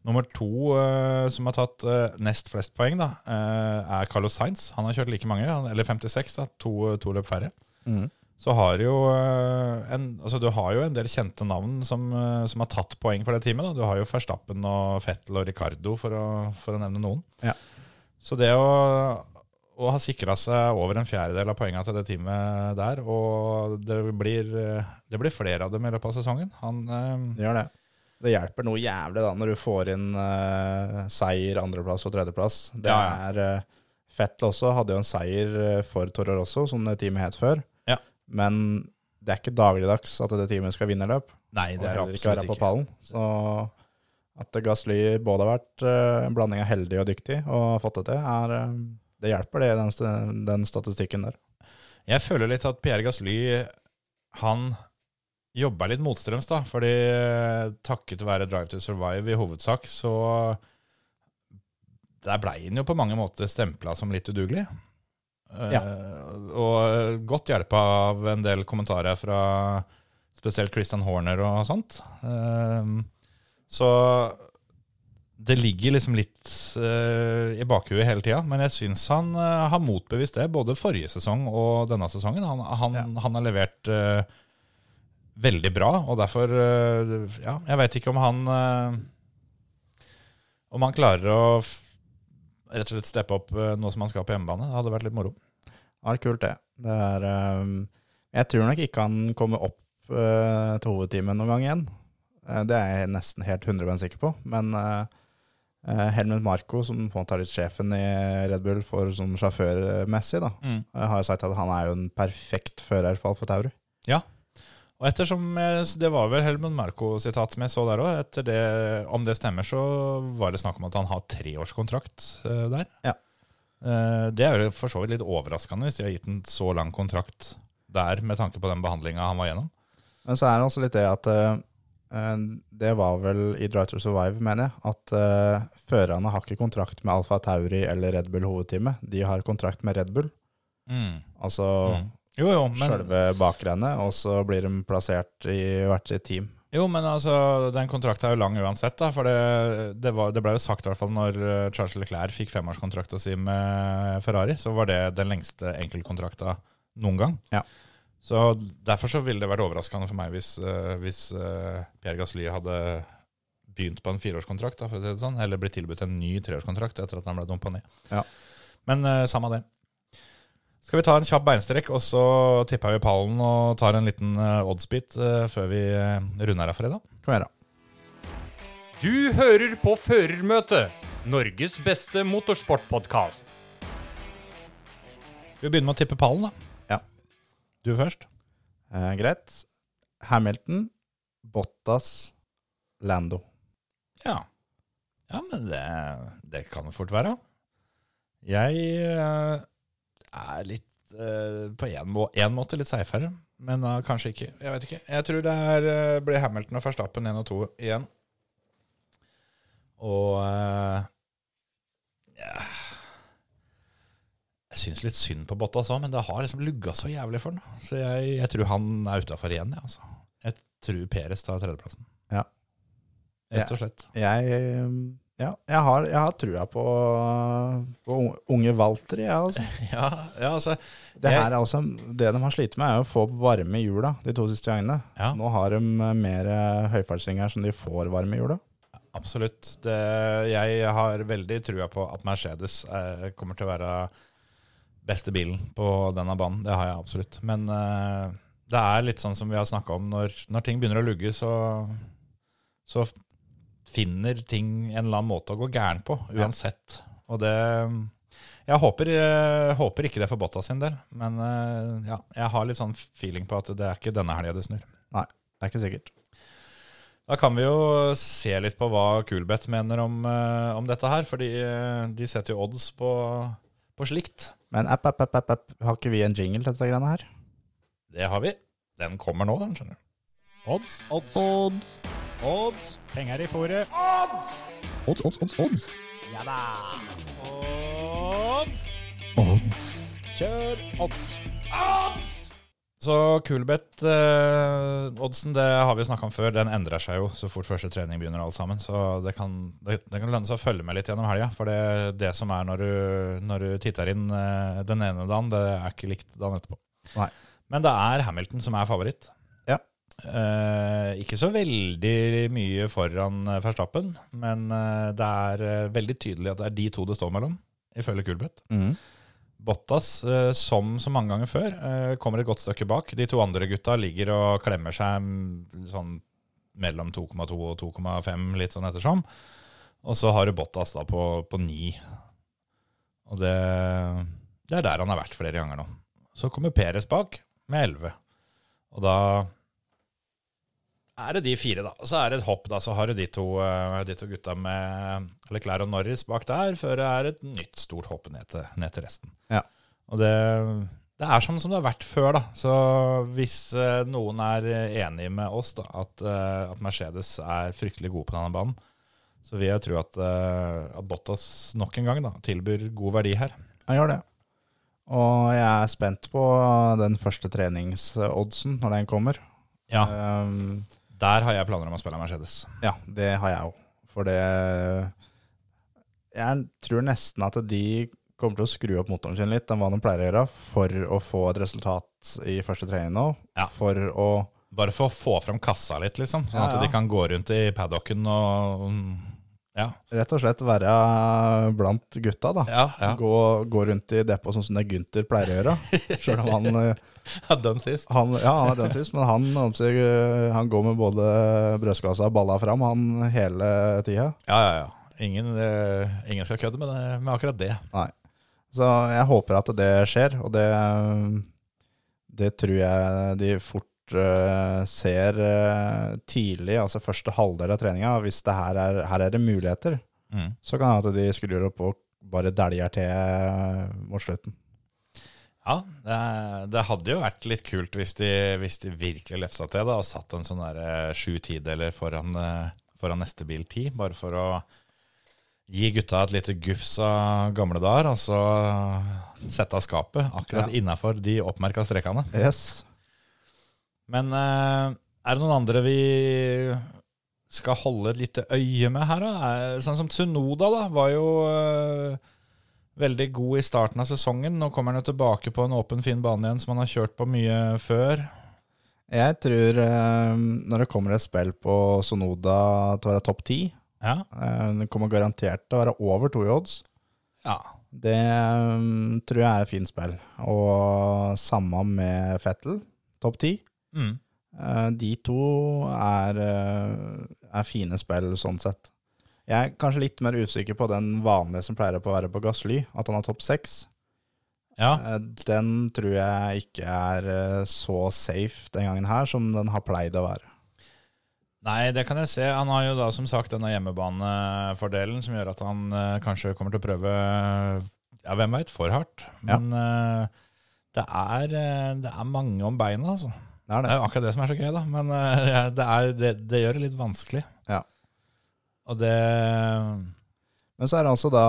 Speaker 1: Nummer to eh, som har tatt eh, nest flest poeng, da, eh, er Carlos Sainz. Han har kjørt like mange, han- eller 56, da, to, to løp færre.
Speaker 4: Mm.
Speaker 1: Så har jo eh, en, altså du har jo en del kjente navn som, eh, som har tatt poeng for det teamet. Da. Du har jo Verstappen og Fettel og Ricardo, for å, for å nevne noen.
Speaker 4: Ja.
Speaker 1: Så det å, å ha sikra seg over en fjerdedel av poengene til det teamet der, og det blir, eh, det blir flere av dem i løpet av sesongen Han eh,
Speaker 4: Det gjør det. Det hjelper noe jævlig da når du får inn eh, seier, andreplass og tredjeplass. Det
Speaker 1: Ja,
Speaker 4: er eh, Fettel også hadde jo en seier eh, for Toro Rosso, som det teamet het før.
Speaker 1: Ja.
Speaker 4: Men det er ikke dagligdags at det teamet skal vinne løp.
Speaker 1: Nei,
Speaker 4: Og
Speaker 1: det er
Speaker 4: heller ikke
Speaker 1: absolutt
Speaker 4: være på
Speaker 1: ikke.
Speaker 4: pallen. Så at Gasly både har vært eh, en blanding av heldig og dyktig og har fått det til, er, eh, det hjelper det, den, st- den statistikken der.
Speaker 1: Jeg føler litt at Pierre Gasly han jobber litt motstrøms, da. Fordi eh, takket være Drive to Survive i hovedsak, så Der blei han jo på mange måter stempla som litt udugelig. Eh,
Speaker 4: Ja.
Speaker 1: Og eh, godt hjelpa av en del kommentarer fra spesielt Christian Horner og sånt. Eh, Så det ligger liksom litt eh, i bakhuet hele tida, men jeg syns han eh, har motbevist det både forrige sesong og denne sesongen. Han, han, han har levert eh, veldig bra, og derfor eh, Ja, jeg veit ikke om han eh, Om han klarer å f rett og slett steppe opp eh, nå som han skal på hjemmebane. Det hadde vært litt moro.
Speaker 4: Ja, det er kult, det. det er, ehm, jeg tror nok ikke han kommer opp eh, til hovedteamet noen gang igjen. Eh, det er jeg nesten helt 100 sikker på. Men eh, eh, Helmut Marko, som på en måte er litt sjefen i Red Bull for som sjåførmessig, da, eh, har sagt at han er jo en perfekt fører for Alfa Tauri.
Speaker 1: Og ettersom jeg- Det var vel Helmut Marko-sitat som jeg så der òg. Etter det, om det stemmer, så var det snakk om at han har treårskontrakt eh, der.
Speaker 4: Ja.
Speaker 1: Eh, det er jo for så vidt litt overraskende hvis de har gitt en så lang kontrakt der, med tanke på den behandlinga han var gjennom.
Speaker 4: Men så er det også litt det at eh, eh, det var vel i Drive to Survive, mener jeg, at eh, førerne har ikke kontrakt med Alfa Tauri eller Red Bull hovedteamet. De har kontrakt med Red Bull. Altså
Speaker 1: Mm. Jo, jo, men,
Speaker 4: sjølve bakrennet, og så blir de plassert i hvert sitt team.
Speaker 1: Jo, men altså, den kontrakten er jo lang uansett, da. For det, det, var, det ble jo sagt i hvert fall når eh, Charles Leclerc fikk femårskontrakta si med Ferrari, så var det den lengste enkeltkontrakta noen gang.
Speaker 4: Ja.
Speaker 1: Så derfor så ville det vært overraskende for meg hvis, eh, hvis eh, Pierre Gasly hadde begynt på en fireårskontrakt, da, for å si det sånn, eller blitt tilbudt en ny treårskontrakt etter at han ble dumpa ned.
Speaker 4: Ja.
Speaker 1: Men eh, samme det. Skal vi ta en kjapp beinstrekk, og så tipper vi pallen og tar en liten eh, oddsbit eh, før vi eh, runder av for i dag?
Speaker 4: Kom her, da.
Speaker 5: Du hører på Førermøtet, Norges beste motorsportpodkast.
Speaker 1: Skal vi begynne med å tippe pallen, da?
Speaker 4: Ja.
Speaker 1: Du først.
Speaker 4: Eh, greit. Hamilton, Bottas, Lando.
Speaker 1: Ja. Ja, men det, det kan det fort være. Jeg eh, er litt eh, På én må, en måte litt seigfere, men da kanskje ikke. Jeg vet ikke. Jeg tror det er, eh, blir Hamilton og Verstappen 1 og 2 igjen. Og eh, ja. Jeg syns litt synd på Bottas òg, men det har liksom lugga så jævlig for han. Så jeg, jeg tror han er utafor igjen, jeg, altså. Jeg tror Peres tar tredjeplassen.
Speaker 4: Ja.
Speaker 1: Rett og slett.
Speaker 4: Jeg, eh, ja, jeg, har, jeg har trua på, på unge Walter, jeg, altså.
Speaker 1: Ja, ja altså
Speaker 4: Det,
Speaker 1: Jeg-
Speaker 4: her er også, det de har slitt med, er å få varme i hjula de to siste gangene.
Speaker 1: Ja.
Speaker 4: Nå har de eh, mer eh, høyfartsringer som de får varme i hjula.
Speaker 1: Absolutt. Det, jeg har veldig trua på at Mercedes eh, kommer til å være beste bilen på denne banen. Det har jeg absolutt. Men eh, det er litt sånn som vi har snakka om, når, når ting begynner å lugge, så, så finner ting en eller annen måte å gå gæren på, uansett. Og det Jeg håper, eh, håper ikke det for Botta sin del, men eh, ja, jeg har litt sånn feeling på at det er ikke denne helga det snur.
Speaker 4: Nei, det er ikke sikkert.
Speaker 1: Da kan vi jo se litt på hva Kulbeth mener om, eh, om dette her, fordi eh, de setter jo odds på, på slikt.
Speaker 4: Men app, app, app, app, app. har ikke vi en jingle til dette greiene her?
Speaker 1: Det har vi. Den kommer nå, den, skjønner du. Odds. Odds. Odds. Penger i fòret.
Speaker 6: Odds, odds, odds, odds.
Speaker 1: Odds.
Speaker 6: Odds.
Speaker 1: Kjør odds. Odds! Så Kulbeth, eh, oddsen det har vi jo snakka om før, den endrer seg jo så fort første trening begynner. alt sammen, Så det kan, det, det kan lønne seg å følge med litt gjennom helga. For det, det som er når du, når du titter inn eh, den ene dagen, det er ikke likt dagen etterpå.
Speaker 4: Nei.
Speaker 1: Men det er Hamilton som er favoritt.
Speaker 4: Ja.
Speaker 1: Eh, ikke så veldig mye foran eh, Verstappen, men eh, det er eh, veldig tydelig at det er de to det står mellom, ifølge Kulbeth.
Speaker 4: Mhm.
Speaker 1: Bottas, eh, som så mange ganger før, eh, kommer et godt stykke bak. De to andre gutta ligger og klemmer seg mm, sånn mellom 2,2 og 2,5, litt sånn ettersom. Og så har du Bottas da på, på 9. Og det, det er der han har vært flere ganger nå. Så kommer Peres bak med 11. Og da er det de fire, da. Og så er det et hopp, da. Så har du de to, eh, de to gutta med Leclerc og Norris bak der, før det er et nytt stort hopp ned til, ned til resten.
Speaker 4: Ja.
Speaker 1: Og det, det er sånn som det har vært før, da. Så hvis eh, noen er enig med oss da, at, eh, at Mercedes er fryktelig god på denne banen, så vil jeg tro at, eh, at Bottas nok en gang da, tilbyr god verdi her.
Speaker 4: Jeg gjør det. Og jeg er spent på den første treningsoddsen når den kommer.
Speaker 1: Ja,
Speaker 4: Ehm,
Speaker 1: Eh, der har jeg planer om å spille Mercedes.
Speaker 4: ja, det har jeg òg. For det Jeg tror nesten at de kommer til å skru opp motoren sin litt enn hva de pleier å gjøre, for å få et resultat i første trening nå.
Speaker 1: Ja.
Speaker 4: For å
Speaker 1: Bare for å få fram kassa litt, liksom. Sånn at
Speaker 4: Ja, ja.
Speaker 1: de kan gå rundt i paddocken og mm, Ja.
Speaker 4: rett og slett være blant gutta, da.
Speaker 1: ja, ja.
Speaker 4: Gå, gå rundt i depot sånn som det Gunther pleier å gjøre. Sjøl om han, eh,
Speaker 1: Den sist.
Speaker 4: han Ja, han er den sist, men han, omsider, eh, han går med både brødskassa og balla fram, han hele tida.
Speaker 1: Ja, ja, ja. Ingen, eh, ingen skal kødde med, det, med akkurat det.
Speaker 4: Nei. Så jeg håper at det skjer, og det, det tror jeg de fort eh, ser eh, tidlig, altså første halvdel av treninga. Hvis det her er, her er det muligheter,
Speaker 1: Mm.
Speaker 4: så kan det hende at de skrur opp og bare dæljer til eh, mot slutten.
Speaker 1: Ja, det, det hadde jo vært litt kult hvis de, hvis de virkelig lefsa til det og satt en sånn der eh, sju tideler foran, eh, foran neste bil ti, bare for å gi gutta et lite gufs av gamle dager, og så sette av skapet akkurat innafor de oppmerka strekene.
Speaker 4: Yes.
Speaker 1: Men eh, er det noen andre vi skal holde et lite øye med her, da? Er, sånn som Tsunoda, da, var jo eh, veldig god i starten av sesongen. Nå kommer han jo tilbake på en åpen, fin bane igjen som han har kjørt på mye før.
Speaker 4: Jeg tror eh, når det kommer et spill på Sonoda til å være topp ti,
Speaker 1: Ja.
Speaker 4: eh, det kommer garantert til å være over to i odds.
Speaker 1: ja.
Speaker 4: Det um, tror jeg er et fint spill. Og samme med Fettel, topp ti. Eh,
Speaker 1: Mm.
Speaker 4: De to er, eh, er fine spill sånn sett. Jeg er kanskje litt mer usikker på den vanlige som pleier på å være på Gassly, at han er topp seks.
Speaker 1: ja.
Speaker 4: Eh, Den tror jeg ikke er eh, så safe den gangen her som den har pleid å være.
Speaker 1: Nei, det kan jeg se. Han har jo da som sagt denne hjemmebanefordelen som gjør at han eh, kanskje kommer til å prøve Ja, hvem veit, for hardt.
Speaker 4: Ja.
Speaker 1: Men eh, det, er, eh, det er mange om beina, altså.
Speaker 4: Det er
Speaker 1: Det
Speaker 4: det.
Speaker 1: er jo akkurat det som er så gøy, da. Men eh, det, er, det, det gjør det litt vanskelig.
Speaker 4: Ja.
Speaker 1: Og det
Speaker 4: Men så er det altså da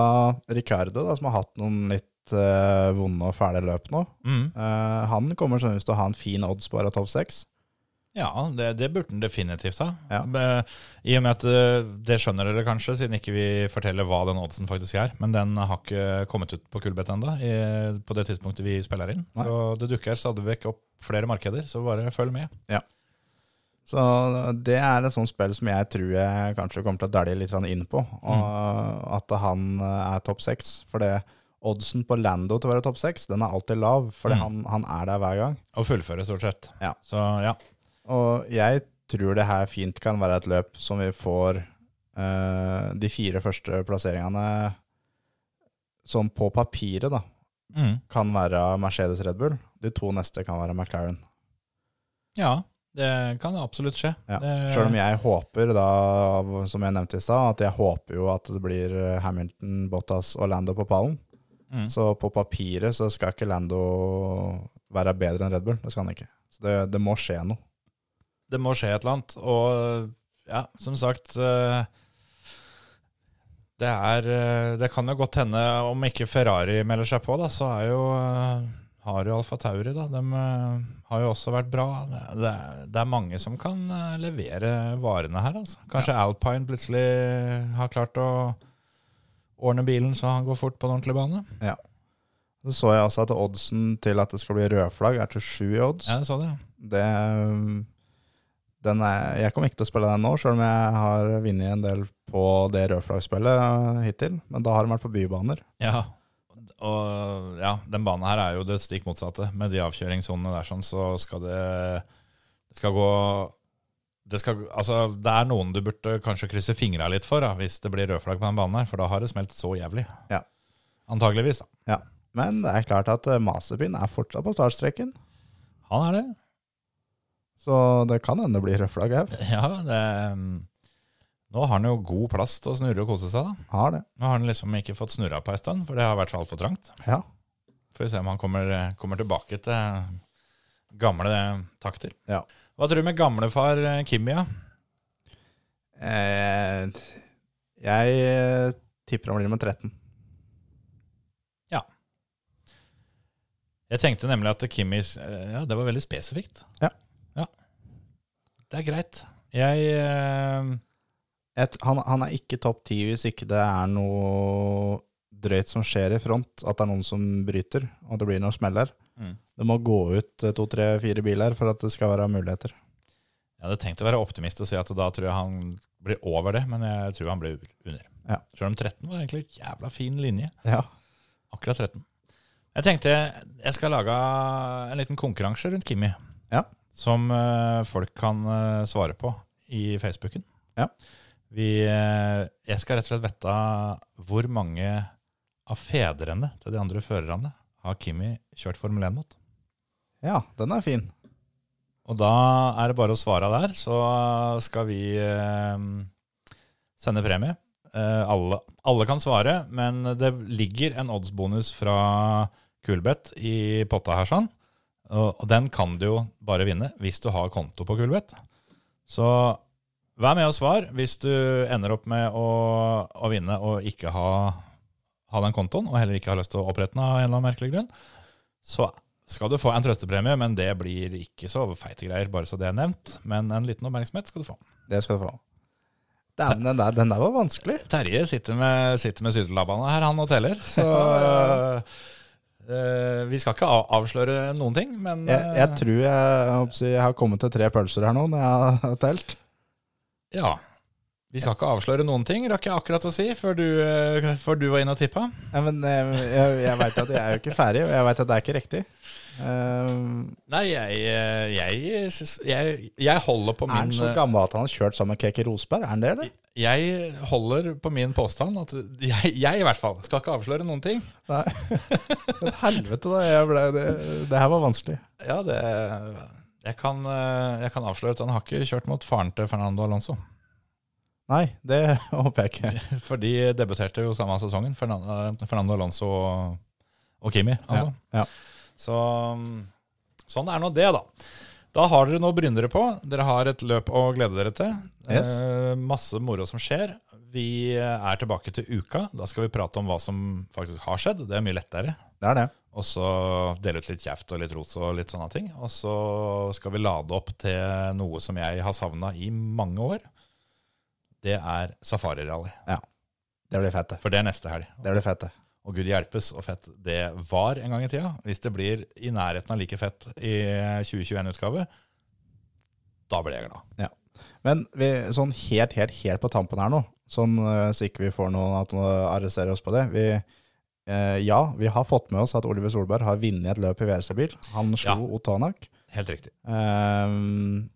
Speaker 4: Ricardo da, som har hatt noen litt eh, vonde og fæle løp nå.
Speaker 1: mm,
Speaker 4: Eh, han kommer sånn ut til å ha en fin odds på å være topp seks.
Speaker 1: Ja, det, det burde den definitivt ha.
Speaker 4: Ja.
Speaker 1: Men, I og med at eh, Det skjønner dere kanskje, siden ikke vi forteller hva den oddsen faktisk er. Men den har ikke kommet ut på Kulbeth ennå, på det tidspunktet vi spiller inn.
Speaker 4: Nei.
Speaker 1: Så det dukker stadig vekk opp flere markeder, så bare følg med.
Speaker 4: Så det er et sånt spill som jeg tror jeg kanskje kommer til å dælje litt grann inn på. Og At han eh, er topp seks. For det Oddsen på Lando til å være topp seks, den er alltid lav, fordi han, han er der hver gang.
Speaker 1: Og fullføre, stort sett.
Speaker 4: Ja.
Speaker 1: Så ja.
Speaker 4: Og jeg tror det her fint kan være et løp som vi får eh, de fire første plasseringene som på papiret da,
Speaker 1: Mm.
Speaker 4: kan være Mercedes Red Bull. De to neste kan være McLaren.
Speaker 1: ja. Det kan absolutt skje.
Speaker 4: Ja.
Speaker 1: Det-
Speaker 4: Selv om jeg håper, da, som jeg nevnte i stad, at jeg håper jo at det blir eh, Hamilton, Bottas og Lando på pallen.
Speaker 1: Mm.
Speaker 4: Så på papiret så skal ikke Lando være bedre enn Red Bull. Det skal han ikke. Så det, det må skje noe.
Speaker 1: det må skje et eller annet. Og ja, som sagt eh, Det er eh, Det kan jo godt hende, om ikke Ferrari melder seg på, da, så er jo eh, har jo Alfa Tauri, da. De eh, har jo også vært bra. Det, det, er- det er mange som kan eh, levere varene her, altså. Kanskje Alpine plutselig har klart å ordne bilen så han går fort på en ordentlig bane.
Speaker 4: Så så jeg også at oddsen til at det skal bli rødflagg, er til sju i odds.
Speaker 1: Ja, jeg så det.
Speaker 4: Det, den er, jeg kommer ikke til å spille den nå, sjøl om jeg har vunnet en del på det rødflaggspillet hittil. Men da har de vært på bybaner.
Speaker 1: Ja, og ja, den banen her er jo det stikk motsatte. Med de avkjøringssonene der sånn, så skal det, det skal gå det, skal, altså, det er noen du burde kanskje krysse fingra litt for da, hvis det blir rødflagg på den banen her, for da har det smelt så jævlig.
Speaker 4: Ja.
Speaker 1: Antageligvis, da.
Speaker 4: Ja. Men det er klart at eh, Mazepin er fortsatt på startstreken,
Speaker 1: Han er det.
Speaker 4: så det kan hende det blir rødflagg her.
Speaker 1: Ja, det mm, Nå har han jo god plass til å snurre og kose seg, da.
Speaker 4: Har det.
Speaker 1: Nå har han liksom ikke fått snurra på ei stund, for det har vært så altfor trangt.
Speaker 4: Ja.
Speaker 1: Får vi se om han kommer, eh, kommer tilbake til eh, gamle takter.
Speaker 4: Ja.
Speaker 1: Hva tror du med gamlefar eh, Kimmy, ja?
Speaker 4: Eh, jeg eh, tipper han blir nummer 13.
Speaker 1: Jeg tenkte nemlig at Kimmy eh, Ja, det var veldig spesifikt.
Speaker 4: Ja.
Speaker 1: Ja. Det er greit. Jeg eh,
Speaker 4: Jeg t- han, han er ikke topp ti hvis ikke det er noe drøyt som skjer i front, at det er noen som bryter, og det blir noen smeller.
Speaker 1: Mm.
Speaker 4: Det må gå ut eh, to, tre, fire biler for at det skal være muligheter.
Speaker 1: jeg hadde tenkt å være optimist og si at da tror jeg han blir over det, men jeg tror han blir under.
Speaker 4: Ja.
Speaker 1: Selv om 13 var egentlig en jævla fin linje.
Speaker 4: Ja.
Speaker 1: Akkurat 13. Jeg tenkte jeg skal lage en liten konkurranse rundt Kimmy.
Speaker 4: Ja.
Speaker 1: Som eh, folk kan eh, svare på i Facebooken.
Speaker 4: Ja.
Speaker 1: Vi, eh, jeg skal rett og slett vette hvor mange av fedrene til de andre førerne har Kimmy kjørt Formel 1 mot.
Speaker 4: ja, den er fin.
Speaker 1: Og da er det bare å svare der, så skal vi eh, sende premie. Eh, alle, alle kan svare, men det ligger en oddsbonus fra Kulbeth i potta her, sånn. Og, og den kan du jo bare vinne hvis du har konto på Kulbeth. Så vær med og svar hvis du ender opp med å, å vinne og ikke ha, ha den kontoen, og heller ikke har lyst til å opprette den av en eller annen merkelig grunn. Så skal du få en trøstepremie, men det blir ikke så feite greier, bare så det er nevnt. Men en liten oppmerksomhet skal du få.
Speaker 4: Det skal du få. Dæven, den, der, den der var vanskelig.
Speaker 1: Terje sitter med, sitter med sydenlabbene her, han og teller. Så eh, vi skal ikke av- avsløre noen ting, men
Speaker 4: Jeg, jeg
Speaker 1: eh,
Speaker 4: tror jeg, jeg, håper å si, jeg har kommet til tre pølser her nå når jeg har telt.
Speaker 1: ja. Vi skal ikke avsløre noen ting, rakk jeg akkurat å si, før du, eh, før du var inne og tippa.
Speaker 4: Ja, men eh, jeg, jeg veit at jeg er jo ikke ferdig, og jeg veit at det er ikke riktig. Eh,
Speaker 1: Nei, jeg, eh, jeg, syns- jeg, jeg holder på
Speaker 4: er han
Speaker 1: min eh,
Speaker 4: så gammel at han har kjørt sammen med Keke Rosberg? Er han det, eller?
Speaker 1: Jeg holder på min påstand at jeg, jeg i hvert fall skal ikke avsløre noen ting.
Speaker 4: Nei. Men helvete, da. Jeg ble, det, det her var vanskelig.
Speaker 1: Ja, det jeg kan, eh, jeg kan avsløre at han har ikke kjørt mot faren til Fernando Alonso.
Speaker 4: Nei, det håper jeg ikke.
Speaker 1: For de debuterte jo samme sesongen, Fernando, Fernando Alonso og, og Kimi. Altså.
Speaker 4: Ja, ja.
Speaker 1: Så mm, sånn er nå det, da. Da har dere noe å bryne dere på. Dere har et løp å glede dere til.
Speaker 4: Yes.
Speaker 1: Eh, masse moro som skjer. Vi eh, er tilbake til uka. Da skal vi prate om hva som faktisk har skjedd. Det er mye lettere.
Speaker 4: Det er det.
Speaker 1: Og så dele ut litt kjeft og litt ros og litt sånne ting. Og så skal vi lade opp til noe som jeg har savna i mange år. Det er safarirally.
Speaker 4: Det blir fett, det.
Speaker 1: For det er neste helg.
Speaker 4: Det blir fett, det.
Speaker 1: Og gud hjelpes og fett det var en gang i tida. Hvis det blir i nærheten av like fett i 2021-utgave, da blir jeg glad.
Speaker 4: Men vi, sånn helt, helt, helt på tampen her nå, sånn eh, så ikke vi får noen at noen arresterer oss på det Vi eh, ja, vi har fått med oss at Oliver Solberg har vunnet et løp i VR-stabil. Han slo
Speaker 1: Ja.
Speaker 4: Otanak.
Speaker 1: Helt riktig.
Speaker 4: Ehm,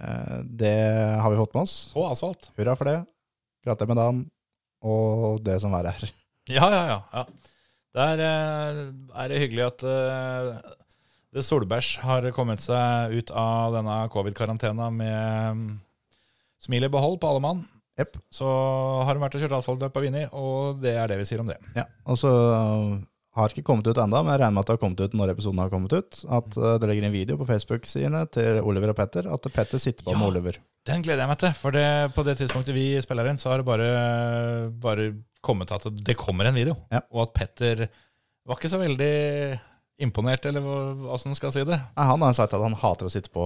Speaker 4: eh, det har vi fått med oss.
Speaker 1: På asfalt.
Speaker 4: Hurra for det. Gratulerer med dagen, og det som verre er.
Speaker 1: Ja, ja, ja. ja. Der eh, er det hyggelig at eh, det Solbæsj har kommet seg ut av denne covid-karantena med mm, smil i behold på alle mann.
Speaker 4: Jepp.
Speaker 1: Så har hun vært og kjørt asfaltløp og vunnet, og det er det vi sier om det.
Speaker 4: Ja, og så um, har ikke kommet ut enda, men jeg regner med at det har kommet ut når episoden har kommet ut. At eh, det ligger en video på Facebook-sidene til Oliver og Petter, at Petter sitter på
Speaker 1: Ja.
Speaker 4: med Oliver.
Speaker 1: Den gleder jeg meg til, for det, på det tidspunktet vi spiller inn, så har det bare, bare kommet at det kommer en video.
Speaker 4: Ja.
Speaker 1: Og at Petter var ikke så veldig imponert, eller hva- åssen skal jeg si det.
Speaker 4: Nei, han har sagt at han hater å sitte på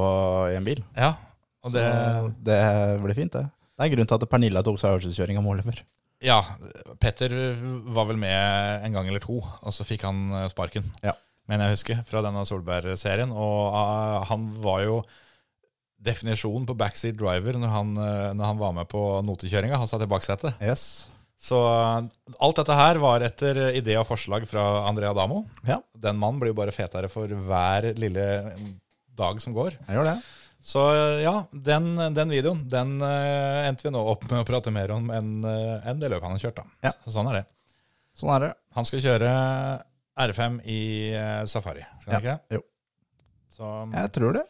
Speaker 4: i en bil.
Speaker 1: Ja, og det...
Speaker 4: Så det blir fint, det. Det er grunnen til at Pernilla tok seg øvelseskjøring av Oliver.
Speaker 1: Ja, Petter var vel med en gang eller to, og så fikk han eh, sparken.
Speaker 4: Ja.
Speaker 1: Men jeg husker fra denne Solberg-serien, og ah, han var jo definisjonen på backseat driver når han, eh, når han var med på notekjøringa. Han satt i baksetet.
Speaker 4: Yes.
Speaker 1: Så eh, alt dette her var etter idé og forslag fra Andrea Damo.
Speaker 4: Ja.
Speaker 1: Den mannen blir jo bare fetere for hver lille dag som går.
Speaker 4: Jeg gjør det.
Speaker 1: Så ja, den, den videoen den eh, endte vi nå opp med å prate mer om enn eh, enn det løpet han har kjørt. da.
Speaker 4: Ja.
Speaker 1: Så Sånn er det.
Speaker 4: Sånn er det.
Speaker 1: Han skal kjøre R5 i eh, Safari, skal han
Speaker 4: Ja,
Speaker 1: ikke?
Speaker 4: jo.
Speaker 1: Så,
Speaker 4: Jeg tror det.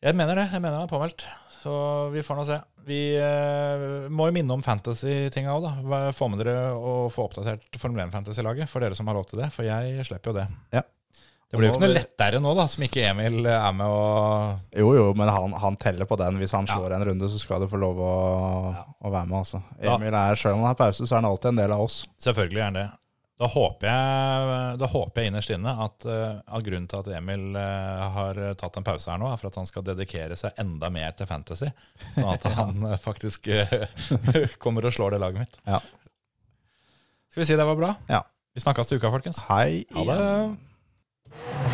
Speaker 1: jeg mener det. Jeg mener han er påmeldt. Så vi får nå se. Vi eh, må jo minne om fantasy-tinga òg, da. Hva- Få med dere å få oppdatert Formel 1-fantasy-laget, for dere som har lov til det. For jeg slipper jo det.
Speaker 4: Ja.
Speaker 1: Det blir jo ikke noe
Speaker 4: Og-
Speaker 1: lettere nå, da, som ikke Emil er med og
Speaker 4: Jo, jo, men han, han teller på den. Hvis han
Speaker 1: Ja.
Speaker 4: slår en runde, så skal du få lov å, å være med, altså.
Speaker 1: Ja.
Speaker 4: Emil er, selv om han har pause, så er han alltid en del av oss.
Speaker 1: Selvfølgelig er han det. Da håper jeg, da håper jeg innerst inne at, eh, at grunnen til at Emil eh, har tatt en pause her nå, er for at han skal dedikere seg enda mer til fantasy. Sånn at han eh, faktisk eh, kommer og slår det laget mitt.
Speaker 4: Ja.
Speaker 1: Skal vi si det var bra?
Speaker 4: Ja.
Speaker 1: Vi snakkes til uka, folkens.
Speaker 4: Hei.
Speaker 1: Ha det.
Speaker 4: igjen.